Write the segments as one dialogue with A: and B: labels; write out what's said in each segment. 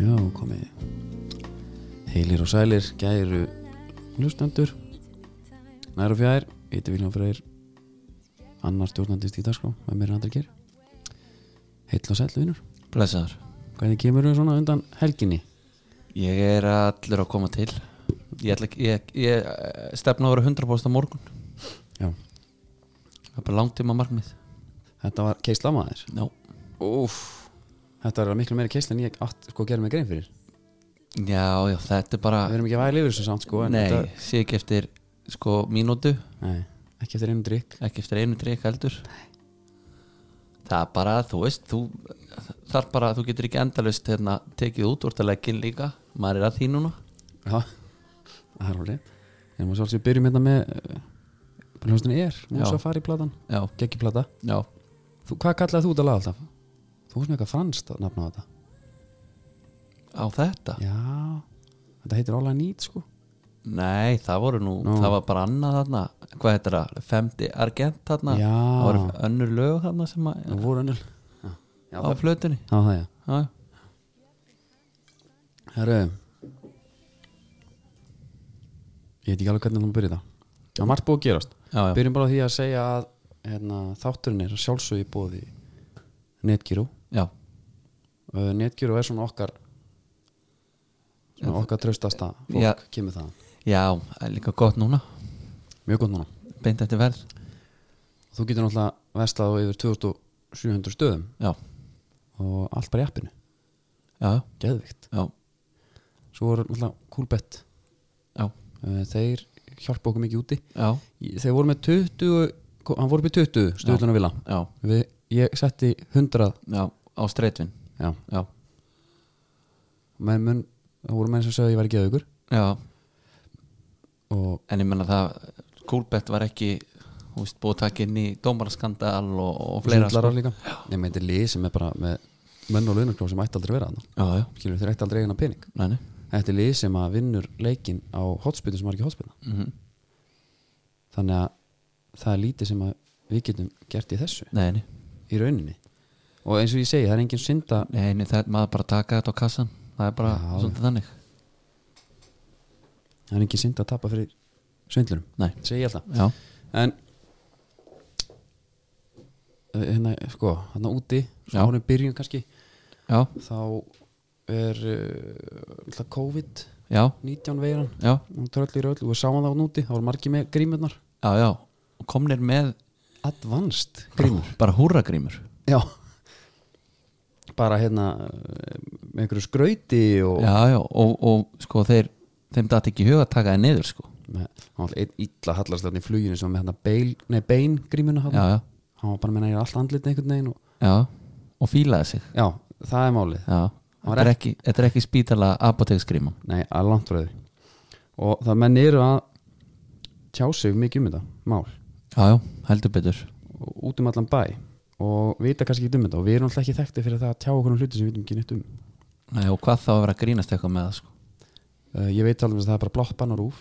A: Já, komið Heilir og sælir, gæru hlustendur Nær og fjær, eitthvað Vilján Freyr Annar stjórnandist í dagskrá Með mér er andri ger Heill og sæll, vinur
B: Blessaður
A: Hvernig kemur þau svona undan helginni?
B: Ég er allur að koma til Ég, ætla, ekki- ég, ég eh, stefna að vera 100% á morgun
A: Já,
B: Það er bara langtíma markmið
A: þetta var keisla maður
B: Já
A: Úf Þetta var miklu meiri keisla en ég átt sko að gera mig grein fyrir
B: Já, já, þetta er bara
A: Við erum ekki að væla yfir þessu samt sko en
B: Nei,
A: þetta,
B: sé ekki eftir sko mínútu
A: nei Ekki eftir einu drikk
B: Ekki eftir einu treyk heldur Það er bara, þú veist Þú þarf bara, þú getur ekki endalust hérna, tekið út úrtalegin líka Maður er að því núna
A: Já, það er alveg rétt. En maður svolítið byrjum hérna með uh, Hljóstin er,
B: Já.
A: Mosafari-platan
B: Já,
A: Gekkiplata
B: já
A: Þú, hvað kallaði þú þetta lag alltaf? Þú veist með eitthvað franskt að nafna á þetta
B: Á þetta?
A: Já, þetta heitir All I Need sko
B: Nei, það voru nú,
A: Nú.
B: það var bara annað þarna Hvað heitir það? Femti Argent þarna
A: Já.
B: Það voru önnur lög þarna sem að
A: Það voru önnul Já, Ah. já
B: á
A: það,
B: flötunni
A: já, það já
B: Já,
A: Herru Ég veit ekki alveg hvernig það má byrja það Það er margt búið að gerast
B: já, já.
A: Byrjum bara á því að segja að hérna, þátturinn er að sjálfsögji bóði Netgyro
B: já.
A: uh, Netgyro er svona okkar svona okkar traustasta fólk
B: Já.
A: kemur þaðan
B: já það er líka gott núna
A: Mjög gott núna
B: Beint eftir verð
A: Þú getur náttúrulega vestlað á yfir 2700 stöðum
B: Já,
A: og allt bara í appinu,
B: já,
A: geðvikt
B: já,
A: svo voru náttúrulega Coolbet
B: já,
A: Eh, þeir hjálpa okkur mikið úti
B: já,
A: Ég- þeir voru með 20 ko- hann voru með 20 stöðluna vila
B: já,
A: Við, ég setti 100
B: já Á streitvin
A: já,
B: Já,
A: menn, menn, það voru menn sem sagði að ég væri geðvikur
B: já,
A: og
B: en ég menna það Kúlbett var ekki þú veist, búið að taka inn í dómaraskandal og, og fleira sko.
A: sundlarar líka ég meinti lið sem er bara með menn og launarklóð sem ætti aldrei að vera þarna
B: Já, já,
A: skilur þeir ætti aldrei eigin að pening
B: næni
A: þetta er lið sem að vinnur leikin á hotspillu sem var ekki hotspillu
B: mm
A: þannig að það er lítið sem að við getum gert í þessu
B: Næni,
A: í rauninni og eins og ég segi, það er engin synda
B: næni, það er maður bara að taka þetta á kassan Það er bara
A: Já,
B: svona þannig
A: það er engin synd að tapa fyrir svindlurum
B: Nei,
A: segi ég alltaf
B: já,
A: en eh, hérna, sko, hérna úti
B: Já.
A: svona honum byrjun kannski
B: já,
A: þá er uh, COVID-19
B: já,
A: veiran
B: já
A: hún tröll í röll og við sáum það á núti, það voru margir með grímurnar
B: Já, já, og komnir með
A: advanced grímur
B: Bara húragrímur
A: já bara hérna eh, með einhverju skrauti og
B: Já, já, og, og sko þeir þeim datt ekki í hug að taka þeir niður sko
A: með, hann var alltaf einn illa hallast þarna í fluginu sem var með hérna beil, nei, bein grímuna hann,
B: Já, já,
A: hann var bara með næra allt andlitið einhvern veginn og,
B: já, og fílaði sig
A: já, það er málið
B: Já,
A: var
B: þetta er ekki, þetta er ekki spítala apoteksgríman
A: nei, að langt frá því og það menn eru að tjá sig mikið um þetta mál
B: Já, já, heldur betur
A: og út um allan bæ og vita kannski ekki um þetta og við erum alltaf ekki þekkti fyrir það að tjá okkur um hluti sem við vitum ekki neitt um
B: Nei, og hvað þá að vera að grínast eitthvað með það sko
A: uh, ég veit alveg að það er bara blátt bann og rúf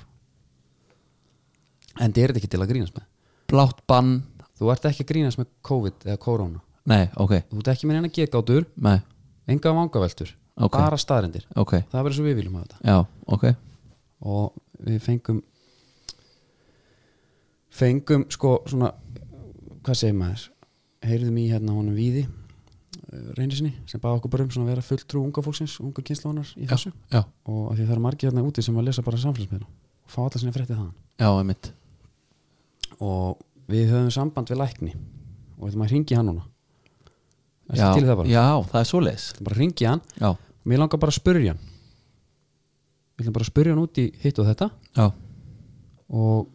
A: en það er þetta ekki til að grínast með
B: Blátt bann,
A: þú ert ekki að grínast með COVID eða korona
B: nei, ok,
A: þú ert ekki með neina gekátur,
B: nei,
A: enga vangaveltur
B: Ok.
A: bara staðrendir
B: ok
A: það er bara svo við viljum hafa þetta
B: Já, ok,
A: og við fengum fengum sko svona hvað segir maður, heyrðum í hérna honum Víði eh, reynisinni sem baða okkur bara um svona að vera fulltrú unga fólksins unga kynslunar í þessu
B: já,
A: og af því það eru margir hérna úti sem að lesa bara samfélagsmiðla og fá alla sinni fréttið þaðan
B: já, einmitt
A: og við höfum samband við lækni og þetta maður ringi hann núna Ertu
B: já,
A: til í það bara,
B: já, það er svoleiðis
A: Ég ætla bara ringi hann
B: Já,
A: og mér langar bara að spurja hann við ætlum bara að spurja hann út í hitt og þetta
B: já,
A: og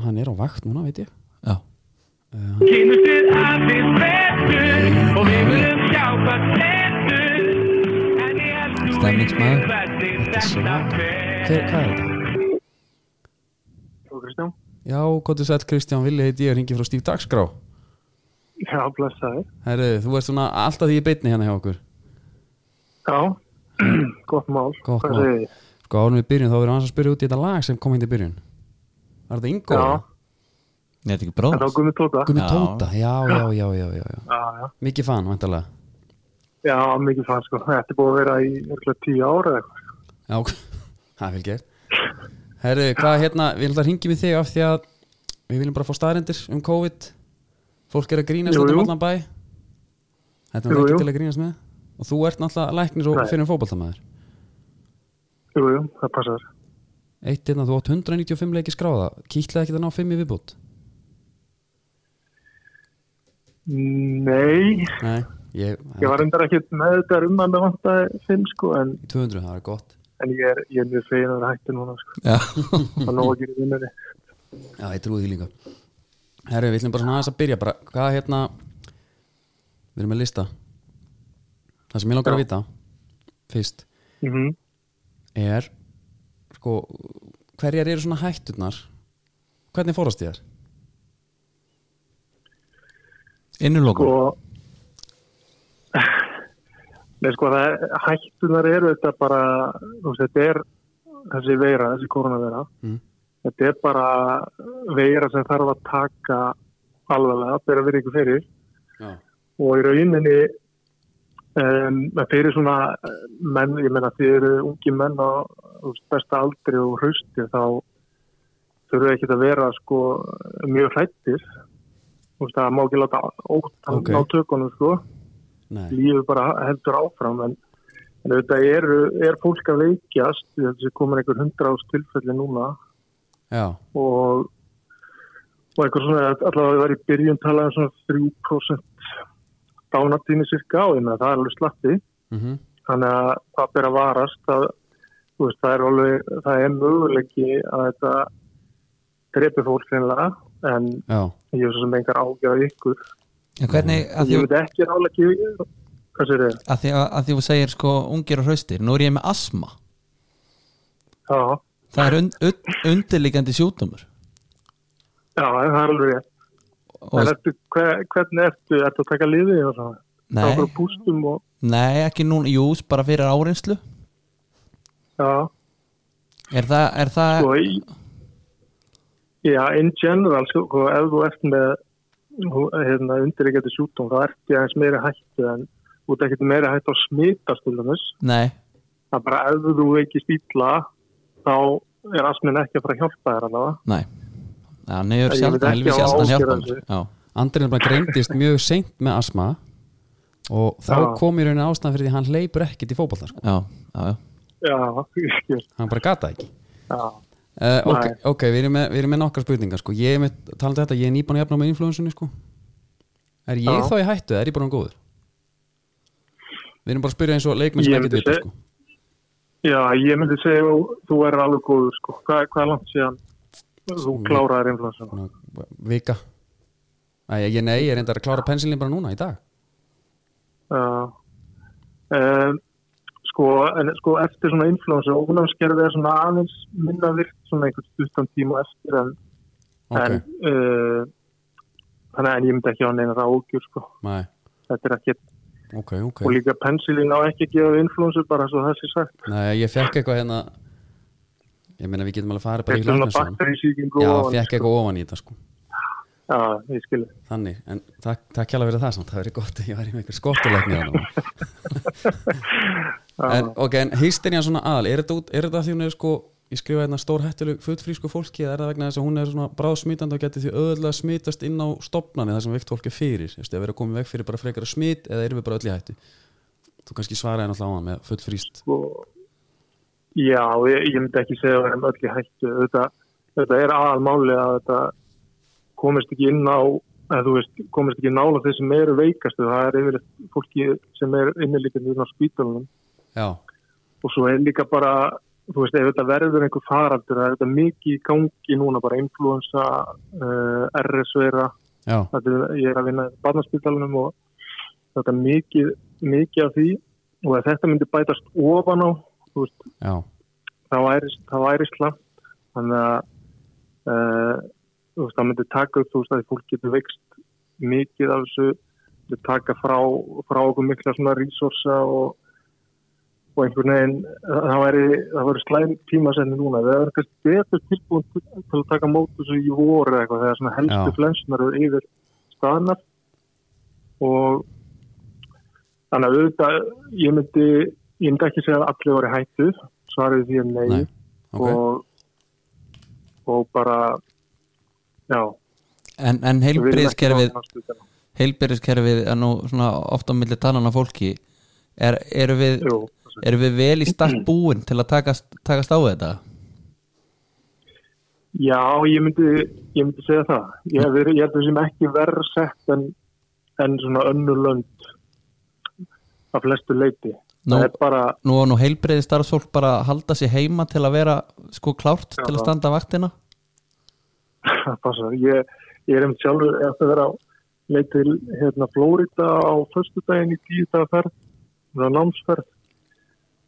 A: hann er á vakt núna, veit ég
B: já
A: uh,
C: Kynnust þið aðeins betur og við munum sjá hvað stendur En ég held þú
B: Stemningsmaður.
C: hvernig
A: Þetta er svak Hver, Hvað er þetta?
D: og Kristján
A: Já, Kottu Sæll Kristján Vili heiti ég ringi frá Stíf Dagskrá
D: Já, blessaði.
A: Herru, þú ert svona alltaf því í beinni hérna hjá okkur
D: Já, gott mál.
A: Gott
D: Hvað
A: mál.
D: segið þið?
A: Sko árum við byrjun þá verðum við aðeins að spyrja út í þetta lag sem kom hindi í byrjun Var þetta Ingo?
B: Ég
D: Já.
B: veit ekki
D: En þá
B: bróðs
D: gummi tóta.
A: Gummi
B: Já.
A: Tóta, já, já, já, já, já, já.
D: Já, já.
A: Mikið fan, væntalega
D: Já, mikið fann sko. Þetta er búið að vera í örgulega tíu ára eða eitthvað.
A: Já, ok. það er vel gert Herru, hvað hérna, við erum alltaf að ringjum í þig af því að við viljum bara fá staðrendir um COVID Fólk er að grínast
D: Jú,
A: þetta um
D: jú.
A: allan bæ Þetta er
D: Jú,
A: ekki
D: jú.
A: til að grínast með Og þú ert náttúrulega læknir og
D: Nei.
A: fyrir um fótboltamaður
D: Jú, jú, það passar.
A: Eitt hérna, þú átt 195 leiki skráða Kýtlaði ekki það ná 5 í viðbútt
D: Nei,
A: Nei, ég,
D: ég var endar ekkert með þetta um að það vantaði fimm sko, en,
A: í 200, það er gott
D: en ég, er, ég er mjög fegin að það hætti núna sko. Það er nóg að gera í vinnunni.
A: Já, ég trúi því líka Herru, við ætlum bara svona aðeins að byrja bara, Hvað hérna Við erum með lista Það sem ég langar að vita Fyrst
D: Mm
A: er sko, Hverjar eru svona hætturnar Hvernig fórast ég þér?
B: Innulokun
D: sko Nei sko það er, hættunar eru þetta bara þú veist, þetta er þessi veira, þessi koronavera
A: Mm.
D: þetta er bara veira sem þarf að taka alvarlega, bera verið ykkur fyrir
A: Já.
D: og í rauninni um, fyrir svona eh, menn, ég menna því eru ungi menn á þú veist, besta aldri og hausti þá þurfa ekki að vera sko mjög hrættir þú veist það má ekki láta ótt
A: Ok.
D: okay. á tökunum sko
A: Nei,
D: lífið bara heldur áfram en, en auðvitað er, er fólk að veikjast ég held að þessi komin einhver hundra ást tilfelli núna
A: já,
D: og og eitthvað svona, allavega það var í byrjun talað um svona 3% dánatíni cirka og ég með það er alveg slatti
A: mhm
D: þannig að það ber að varast að, þú veist, það er alveg það er möguleiki að þetta drepi fólk finnilega en
A: já
D: ég er svo sem engar ágjáð ykkur
B: En hvernig, að
D: ég
B: því
D: veit ekki rálega ekki hvað sér þið?
B: að því að, að því þú segir sko ungir og hraustir, nú er ég með asma
D: Já,
B: það er und, und, undirliggjandi sjúkdómur
D: já, það er alveg rétt
B: og,
D: en ertu, hver, hvernig ertu, ertu að taka liði og svona?
B: Nei.
D: Það er okkur pústum og
B: nei, ekki núna, jú, bara fyrir áreinslu
D: já,
B: er það, er það
D: sko í já, in general sko, sko, ef þú ert með hú- hérna, undirreikjandi sjúkdóm þá ert ég aðeins meira hættu en þú ert ekkert meira hættu að smita stilunus
B: nei,
D: það er bara ef þú veikist illa þá er asmin ekki að fara að hjálpa þér alveg
B: nei hann hefur
D: Ég veit
B: sjaldan,
D: ekki
B: helvið
D: á
B: sjaldan
D: ástæðu
B: hjálpan
D: þessu.
B: já,
A: Andrið er bara greindist mjög seint með asma og þá
D: Já.
A: kom í rauninni ástæðan fyrir því að hann leipur ekkit í fótbolta sko.
B: já, já, já.
D: já, ég skil.
A: hann bara gata ekki
D: já,
A: Uh, ok,
D: Nei.
A: ok, við erum með, við erum með nokkar spurningar sko. ég er með, talandi um þetta, ég er nýbúin að jafna með influensunni sko. er ég
D: Já.
A: þá í hættu eða er ég bara um góður við erum bara að spyrja eins og leikmenn sem
D: Ég
A: ekki
D: myndi
A: vita
D: seg-
A: sko.
D: já, ég myndi segja þú- þú er alveg góður sko hvað, hvað er langt síðan þú
B: Mm.
D: kláraðir influensuna
A: Svona vika Æ, ég, ég- nei, ég er enda að klára pensilin bara núna í dag
D: Já. Um, sko, en, sko eftir svona influensu ónámskerfið er svona aðeins minna virkt svona einhvern stuttan tíma eftir en,
A: ok,
D: en uh, þannig að ég myndi ekki á neina það ógjur sko.
A: nei,
D: þetta er ekki,
A: ok, ok
D: og líka pensilin á ekki að gefa influensu bara svo það sé sagt
A: nei, ég fekk eitthvað hérna ég meina við getum alveg að fara bara í
D: þetta er svona
A: læknarsögun
D: bakterísýkingu
A: já,
D: og-
A: fekk eitthvað ofan í þetta sko
D: já, ég skilji
A: Þannig, en takk, takk hjá að vera það samt, það verið gott að ég væri með einhver skortuleikni þannig en, Ok, en hysterían svona aðal, er þetta, út, er þetta því hún er sko ég skrifa hérna stór hættuleg fullfrísku fólki eða er það vegna þess að hún er svona bráðsmitandi og geti því öðvöldlega smitast inn á stopnani þar sem veikt fólk er fyrir, eftir að vera komið veg fyrir bara frekara smit eða erum við bara öll í hættu Þú kannski svaraði náttúrulega á hann með fullfríst
D: sko, já, ég, ég myndi ekki segja að við erum öll í hættu þetta, þetta er aðalmáli að þetta komist ekki inn á eða þú veist, komist ekki nála þeir sem eru veikastu, það er yfirleitt fólki sem er innilíkjandi inn á spítalunum
A: Já,
D: og svo er líka bara þú veist, ef þetta verður einhver faraldur það er þetta mikið í gangi núna bara influensa, uh, RS-vera
A: já,
D: þetta er, ég er að vinna í barnaspítalunum og þetta er mikið, mikið af því og ef þetta myndi bætast ofan á, þú veist,
A: já
D: það væri, það væri slant eh, þannig að uh, þú veist, það myndi taka upp þú veist að fólk getur veikst mikið af þessu þau taka frá, frá okkur mikla svona resursa og, og einhvern veginn það væri, það væri slæm tíma senni núna það er kannski betur tilbúin til, til að taka mót þessu í voru eða eitthvað þegar svona helstu
A: Já.
D: flensunar eru yfir staðnar og þannig að auðvitað ég myndi, ég myndi ekki segja að allir voru í hættu svarið því að nei,
A: Nei, ok,
D: og, og bara já
B: En, en heilbriðskerfið heilbriðskerfið er nú svona ofta á milli tannan af fólki er, eru, við,
D: Jú,
B: eru við vel í stakk búin til að takast, takast á þetta?
D: já, ég myndi, ég myndi segja það ég, við, ég held að við sem ekki verð sett en, en svona önnulönd af flestu leiti
B: Nú-
D: það er bara,
B: Nú var nú heilbriði starfsfólk bara að halda sér heima til að vera sko klárt til að standa vaktina
D: passa, ég, ég er einmitt sjálfur eftir að vera á leið til hérna Flórida á föstudaginn í tíu dagar ferð, það er námsferð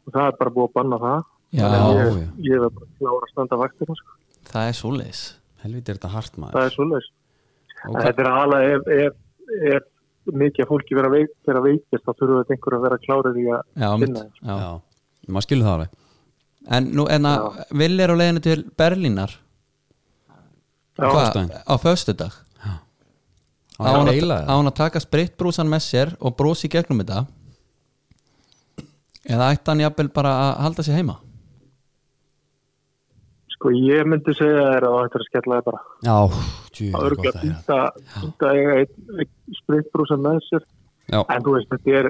D: og það er bara búið að banna það
B: Já,
D: Þannig að ég,
A: já.
D: ég er bara klára að standa vaktina sko.
B: það er svoleiðis
A: helviti er þetta hart
D: það
A: maður
D: er svoleiðis
A: Ok.
D: Þetta er alveg ef, ef, ef mikið af fólki vera veik, vera veikist þá þurfum við einhver að vera klárið í að
B: Já, mitt,
D: Finna.
B: já.
A: Já, maður skilur það alveg
B: En nú, en að Vill er á leiðinu til Berlínar
D: Já.
B: Hvað?
A: föstudaginn.
B: Á föstudag
A: Á hann að
B: að,
A: deila
B: á
A: það
B: hann að taka spritbrúsan með sér og brosi gegnum þetta Eða ætti hann jafnvel bara að halda sér heima
D: sko ég myndi segja þér að þetta er að skella þér bara
A: Já, tjú,
D: að
A: gott
D: örgla
A: að heyra
D: býta að eiga einn einn spritbrúsa með sér
A: Já,
D: en þú veist þetta er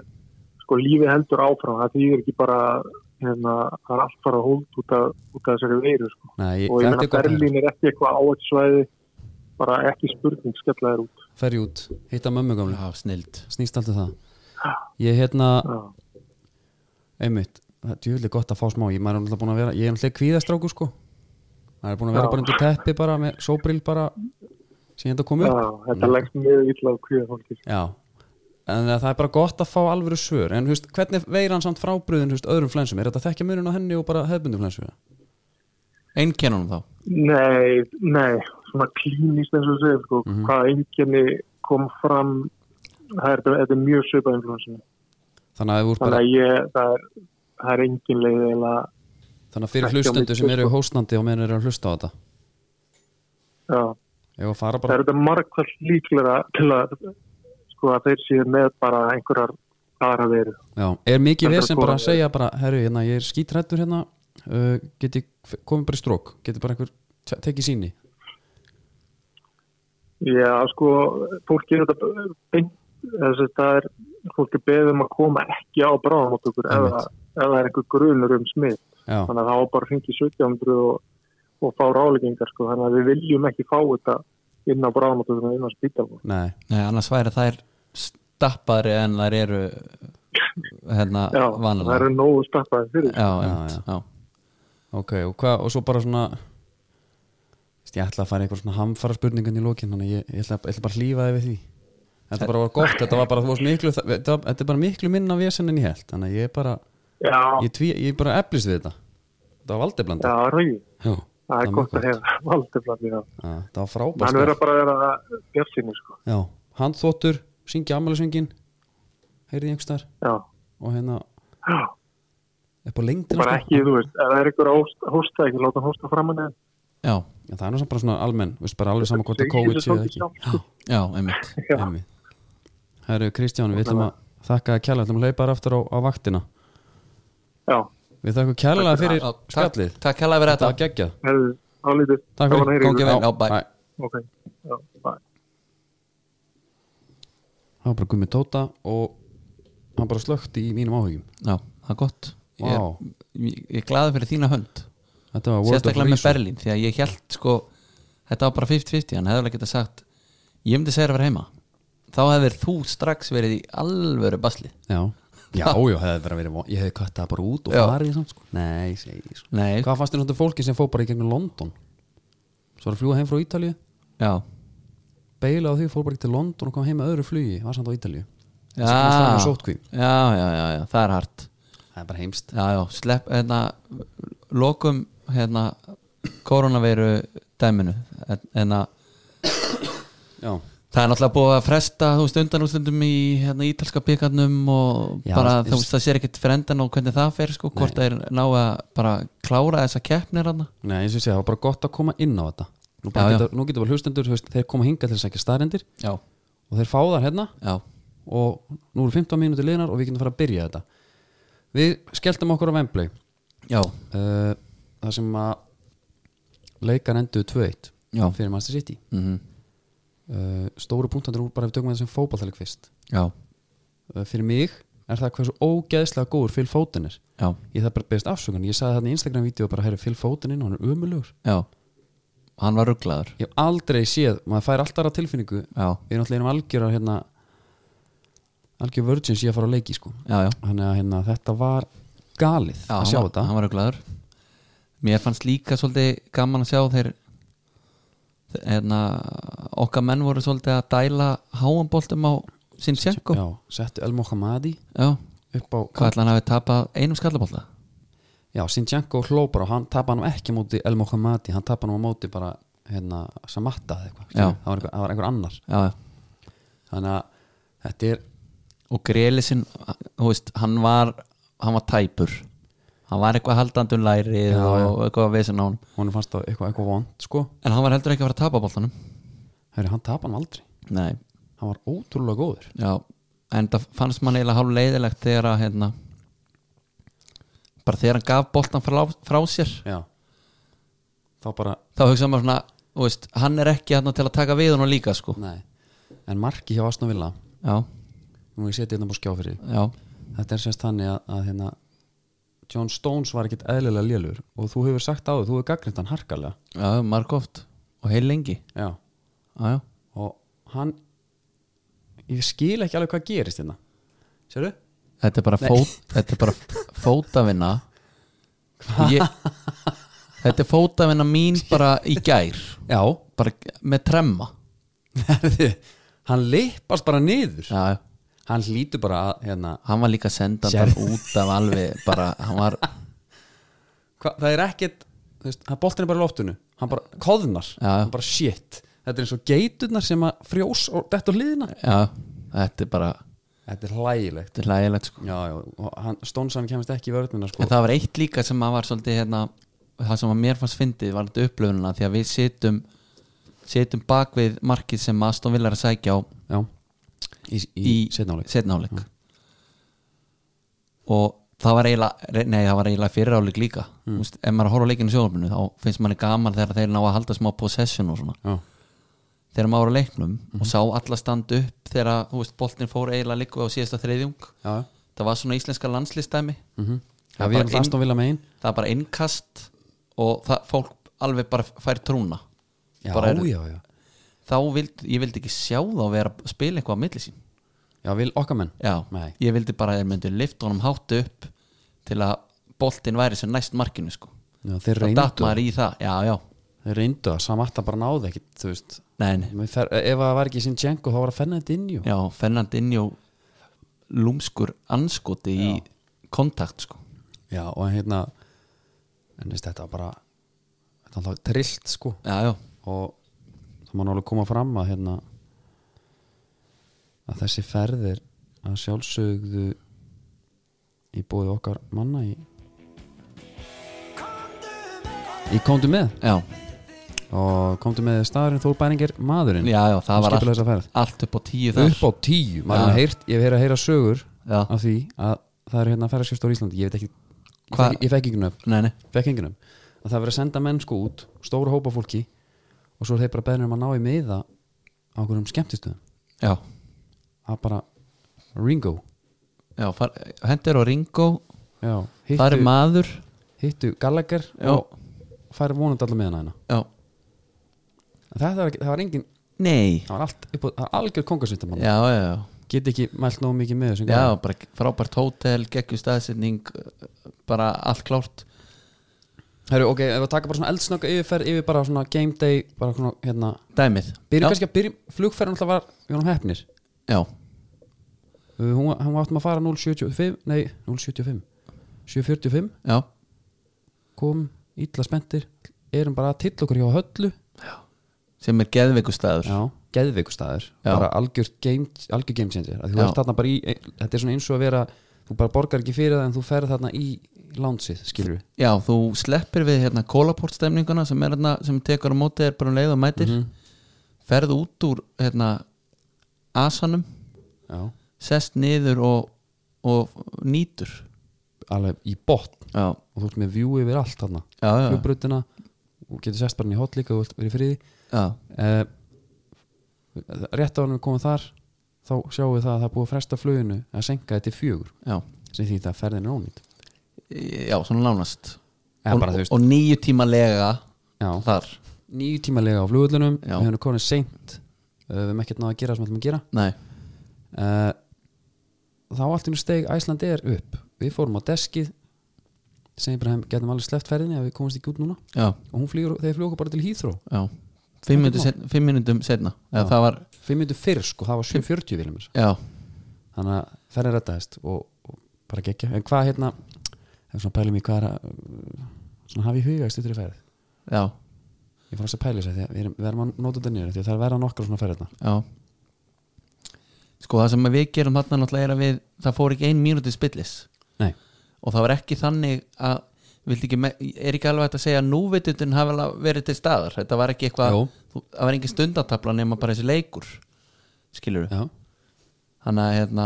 D: sko lífið heldur áfram það þýðir ekki bara hérna, það er allt fara á hóld út af, út af þessari veiru sko.
A: nei, ég-
D: og
A: þetta
D: ég menna
A: er gott að heyra
D: Berlín er ekki eitthvað áhættsvæði bara ekki spurning skella þér út
A: Ferri út, hitta mömmu gamlu
B: Já, snild
A: snýst alltaf það ég hérna,
D: Já.
A: einmitt það er djúlega gott að fá smá, ég maður er alltaf búin að vera ég er alltaf kvíðastráku sko maður er búin að vera
D: Já.
A: bara undir teppi bara með sóbrill bara sem ég enda kom
D: Já,
A: upp
D: þetta leggst mjög illa á kvíða fólki sko.
A: já, en eh, það er bara gott að fá alvöru svör, en þú veist, hvernig veir hann samt frábriðin, þú veist, öðrum flensum, er þetta þekkja munun á henni og bara hefbundum flensu
B: Einkennunum þá
D: Nei, nei, svona klínist eins og þú segir, sko, hvað einkenni kom fram, það er, þetta er mjög söpað influensinu.
A: þannig að, ef þú ert
D: Þannig
A: bara,
D: að ég, það er, það er engin leið eiginlega,
A: þannig að fyrir
D: Ekki á
A: hlustendur sem
D: milli,
A: eru
D: sko.
A: hóstandi og meðan eru að hlusta á þetta
D: já,
A: ég var að fara
D: það
A: bara,
D: er þetta margkvæmt líklega til að, sko, að þeir séu með bara einhverjar aðra veru.
A: já, er mikið
D: Heldur
A: vesen
D: að
A: bara
D: koma-
A: að segja bara, herru, hérna, ég er skítrættur hérna uh, get ég komið bara í strók get bara einhver, te- tekið síni
D: Já, sko, fólki er þetta beint, þess að það er, fólki beðum að koma ekki á bráðamáttökur ef,
A: Einmitt.
D: það- ef það er einhver grunur um smitt.
A: já,
D: þannig að það var bara að hringi 1700 og, og fá ráleggingar sko. þannig að við viljum ekki fá þetta inn á bráðamáttöðuna inn á spítalum
A: nei
B: Nei, annars væri þær stappari en þær eru hérna
D: Já, það
B: vanalega
D: eru nógu stappaði fyrir
B: Já, einmitt, já,
A: Ok, og, hva, og svo bara svona Vist, ég ætla að fara eitthvað svona hamfara spurningan í lokin þannig að ég, ég, ætla, ég ætla bara að hlífa þið við því Þetta bara var gott, þetta var bara, þú varst miklu þetta var, þetta er bara miklu minna vesen en ég held þannig að ég bara,
D: Já, já,
A: ég, tví, ég bara eflist við þetta Þetta var valdeblanda
D: það er ekki
A: Jú,
D: það er
A: mjög
D: gott að hefða valdi flanni
A: Já, Það var
D: hann verður
A: frábært
D: bara að vera bjartsinni sko.
A: Já, handþóttur, syngja ammælisöngin heyrði einhvers þar
D: já,
A: og hérna
D: já
A: upp á
D: og
A: lengdina
D: bara
A: sko.
D: ekki, þú veist, ef það er einhver að hósta- hósta ekki láta hann hósta framann en
B: já,
A: Já, Það er nú samt bara svona almenn, veist bara alveg saman hvort það
D: Segir
A: COVID
D: þessu
A: séu eða
D: svolítið
A: ekki
D: sjálf,
A: Já,
B: já, einmitt
D: Já.
A: Einmitt. Herru Kristján, við ætlum að þakka þér kærlega, ætlum að hlaupa þér aftur á, á vaktina
D: já,
A: Við þakkum kærlega fyrir
B: Já, takk,
A: skallið
B: takk hella
A: Það
B: fyrir
A: var
B: þetta
A: geggjað
D: hefðu, álítið
A: Takk fyrir.
D: Gaman að heyra
B: Gangi
D: ykkur.
B: vel.
A: Já,
B: Já, bye.
A: bye.
D: ok, já, bye
A: Það var bara gummi tóta og hann bara slökti í mínum áhugjum
B: Já, það er gott Ég er,
A: Vá.
B: ég, ég er glaði fyrir þína hönd
A: Þetta var World of
B: Sérstaklega með
A: Reason
B: Berlín Því að ég held sko Þetta var bara 50-50 Hann hefði alveg getað sagt Ég myndi segja þér að vera heima Þá hefðir þú strax verið í alvöru basli
A: Já, já, já, hefði verið að verið von- Ég hefði kvætt það bara út og
B: Já.
A: farið samt sko Nei, segi sko
B: Nei,
A: Hvað fannst þér náttúrulega fólki sem fór bara í gegnum London Svo var að fljúga heim frá Ítalíu
B: já
A: Beila á því, fór bara ekki til London og kom heim með öðru flugi Var samt á Ítalíu
B: Já,
A: Það er sótkví
B: já, já, já, já, það er hart
A: Það er bara heimst
B: Já, já, slepp, hérna lokum, hérna koronaveiru dæminu, hérna
A: Já,
B: Það er náttúrulega búið að fresta þú veist undan útlöndum í hérna, ítalska byggarnum og
A: Já,
B: bara
A: þú
B: þú
A: veist-
B: veist það sér ekkert fyrir endan og hvernig það fer sko, hvort það er ná að bara klára þessa keppnir hann
A: Nei, eins og ég segi, það var bara gott að koma inn á þetta Nú, bara
B: Já, já.
A: geta, nú getur bara hlustendur, þú veist, þeir koma hinga til þess að ekki staðrendir
B: Já,
A: og þeir fá þar hérna
B: já,
A: og nú eru 15 mínútur liðnar og við getum að fara að byrja þetta Við skelltum okkur á Vembley
B: já,
A: uh, Það sem að leikar enduðu 2-1
B: já,
A: fyrir Master City
B: mm
A: uh, Stóru punktandur úr bara ef við tökum þetta sem fótballtæli kvist
B: já,
A: uh, Fyrir mig er það hversu ógeðslega góður Phil Foden er
B: já,
A: Ég þarf bara að beðast afsökun Ég sagði þarna í Instagram-vídeó bara, herru, Phil Foden inn og hann er umulugur
B: já Hann var rugglaður
A: Ég hef aldrei séð, maður fær alltaf aðra tilfinningu
B: Já,
A: við erum alltaf einum algjörar hérna, algjör virgins í að fara á leiki sko.
B: já, já,
A: þannig að hérna, þetta var galið
B: já
A: að
B: hann
A: sjá
B: var-
A: þetta
B: Hann var rugglaður Mér fannst líka svolítið gaman að sjá þeir hérna, okkar menn voru svolítið að dæla háan boltum á sinn sjenko
A: já, settu El Mohammadi
B: Já,
A: upp á
B: hvað ætla hann hafi tapað einum skallabólta?
A: já, Sinchenko hlópar og hann tapa hann ekki á móti El Mohammadi, hann tapa hann á móti bara hérna, Samatta eða eitthvað
B: Já.
A: það var einhver, það var einhver annar
B: Já, já.
A: þannig að þetta er,
B: og Grelisinn, þú veist, hann var hann var tæpur hann var eitthvað haldandum læri
A: Já,
B: og eitthvað að vesen á hann
A: honum fannst það eitthvað, eitthvað vond sko,
B: en hann var heldur ekki að fara að tapa bóltanum
A: Heri, hann tapa hann aldrei
B: Nei,
A: hann var ótrúlega góður
B: já, en það fannst mann eiginlega hálf leiðilegt þegar að hérna, bara þegar hann gaf bóltan frá, frá sér
A: já. þá bara,
B: þá hugsaði maður svona, þú veist, hann er ekki hérna til að taka við hann líka sko
A: nei en marki hjá Aston Villa
B: Já,
A: nú ég seti hérna búið skjá fyrir því.
B: já,
A: þetta er semst þannig að, að hérna, John Stones var ekkit eðlilega lélur og þú hefur sagt á þau, þú hefur gagnrýnt hann harkalega
B: já, margóft og heil lengi
A: já.
B: Já, já,
A: og hann ég skil ekki alveg hvað gerist hérna sérðu?
B: Þetta er bara,
A: Nei.
B: fót, þetta er bara fótavinna ég, Þetta er fótavinna mín bara í gær
A: já,
B: bara með tremma
A: hann lippast bara niður
B: Já, já.
A: hann hlýtur bara að hérna,
B: hann var líka sendandan út af alveg bara, hann var,
A: hva, það er ekkit þú veist, hann boltin er bara í loftinu hann bara koðnar,
B: Já, já.
A: hann bara shit þetta er eins og geiturnar sem að frjós og þetta á hliðina
B: já, þetta er bara
A: þetta er hlægilegt
B: þetta er lægilegt sko
A: já, já, og hann, Stones hann kemist ekki í vörðnina sko.
B: En það var eitt líka sem að var svolítið hérna, það sem að mér fannst fyndið var þetta upplöfunina því að við situm situm bak við markið sem Aston Villa er að sækja á
A: Já Í, í, í
B: í
A: setnáleik
B: setnáleik og það var eiginlega nei það var eiginlega fyriráleik líka mm. Vist, ef maður horfa á leikinu sjóðuminu þá finnst manni gaman þegar þeir ná að halda smá possession og svona
A: Já,
B: þegar maður var á leiknum
A: Mhm.
B: og sá alla standa upp þegar þú veist, boltin fór eiginlega líku á síðasta þriðjung
A: já
B: það var svona íslenska landslistæmi
A: mm
B: Það
A: Já,
B: er
A: við
B: bara
A: erum það
B: inn-
A: Aston Villa megin
B: það er bara innkast og það, fólk alveg bara fær trúna
A: Já,
B: Bara er-
A: já, já
B: þá vild, ég vildi ekki sjá þá vera að spila eitthvað á milli sín
A: Já, vil okkar menn
B: Já,
A: Nei.
B: ég vildi bara að þeir myndu lift honum hátt upp til að boltinn væri sem næst markinu sko.
A: já, Þeir
B: það datt
A: reyndu
B: maður í það, já, já
A: Þeir reyndu að samatta bara náði ekkit Þú veist
B: Nei, nei.
A: Mér fer, Ef það var ekki sinn Django þá var að fenni þetta inn jú
B: já, Fernand Injó lúmskur anskoti í kontakt sko.
A: já og hérna En veist þetta var bara Þetta var alltaf trillt sko
B: já, já,
A: Og það má nálega koma fram að hérna Að þessi ferðir Að sjálfsögðu Í bóði okkar manna í Í komdu með
B: já,
A: og komdu með staðurinn Þór Bæringer maðurinn
B: já, já það
A: Hann
B: var
A: skipulagði
B: allt, allt upp á tíu þar
A: upp á tíu, maður ja. heyrt, ég hef heyrt að heyra sögur
B: Já.
A: af því að það eru hérna ferðarskjöfstóri í Íslandi, ég veit ekki ég
B: Hva-
A: fekk, ég fekk yngunum,
B: Nei, nei,
A: fekk yngunum að það verið að senda menn sko út, stóra hópa fólki og svo er þeir bara beðnir um að ná í meða á einhverjum skemmtistöðum
B: já,
A: að bara Ringo
B: já far, hendur á Ringo
A: já,
B: það er
A: hittu,
B: maður
A: hittu Gallagher
B: Já.
A: og færi vonandi allar meðan að hérna
B: já.
A: það, það, það var engin,
B: Nei,
A: það var allt upp á, það var algjör kongarsvitamann
B: já, já, já
A: get ekki mælt nógu mikið með þessum
B: Já, bara frábært hótel, geggjum staðsetning bara allt klárt
A: Herru, ok, ef við taka bara svona eldsnögg yfirferð yfir bara svona game day bara svona, hérna,
B: dæmið
A: byrjum
B: já,
A: kannski að byrjum flugferðin alltaf var, við varum hefnir
B: já,
A: Uh, hún, var- hún áttum að fara 0.75 nei, 0.75 7.45,
B: já,
A: kom illa spenntir erum bara að tilla okkur hjá höllu
B: sem er geðveikustæður
A: já, geðveikustæður
B: Já.
A: bara algjör game, algjör game changer Af því þú
B: Já.
A: ert þarna bara í, þetta er svona eins og að vera þú bara borgar ekki fyrir það en þú ferð þarna í lánsið, skilur við
B: Já, þú sleppir við hérna kólaportstemninguna sem, er hérna, sem tekur á móti er bara um leið og mætir
A: Mhm.
B: ferð út úr hérna asanum,
A: já,
B: sest niður og, og nýtur
A: alveg í botn
B: Já,
A: og þú ert með view yfir allt þarna
B: já, já,
A: hlubbrutina og getur sest bara inn í hot líka og vilt verið í friði
B: já.
A: uh, rétt á hann við komum þar þá sjáum við það að það er búið að fresta fluginu að senka þetta í fjögur
B: já.
A: sem því að ferðin er ónýtt
B: Já, svona nánast
A: Eða
B: og,
A: bara, þú
B: og,
A: veist-
B: og níu tíma lega
A: já,
B: þar
A: nýju tímalega á flugullunum við
B: Já.
A: höfum konið seint uh, við höfum ekkert náða að gera það sem við ætlum að gera
B: Nei,
A: uh, þá allt í einu steg Æsland er upp við fórum á deskið segjum bara að getum alveg sleppt ferðinni að við komumst ekki út núna
B: já,
A: og hún flýgur, þeir fljóku bara til Heathrow
B: já Fimm mínútum setna, fimm mínútum setna. Eða, Það var,
A: 5 minnur fyrr sko, það var 7.40 viljum þess
B: já,
A: þannig að ferðin rettaðist og, og bara gekkja, en hvað hérna ef svona pælum í hvað er að uh, svona hafi í huga í stuttur í ferð
B: já,
A: ég fór aðeins að pæla þess að því að við, erum, við erum að nóta þetta niður því að það er að vera nokkra svona ferðina
B: já Sko það sem við gerum þarna náttúrulega er að við það fór ekki ein mínúti spillis
A: nei,
B: og það var ekki þannig að vildi ekki, me- er ekki alveg hægt að segja að núvitundin hafi alveg verið til staðar þetta var ekki eitthvað,
A: Jú.
B: þú- það var engin stundatafla nema bara þessi leikur skilur
A: já,
B: þannig að hérna,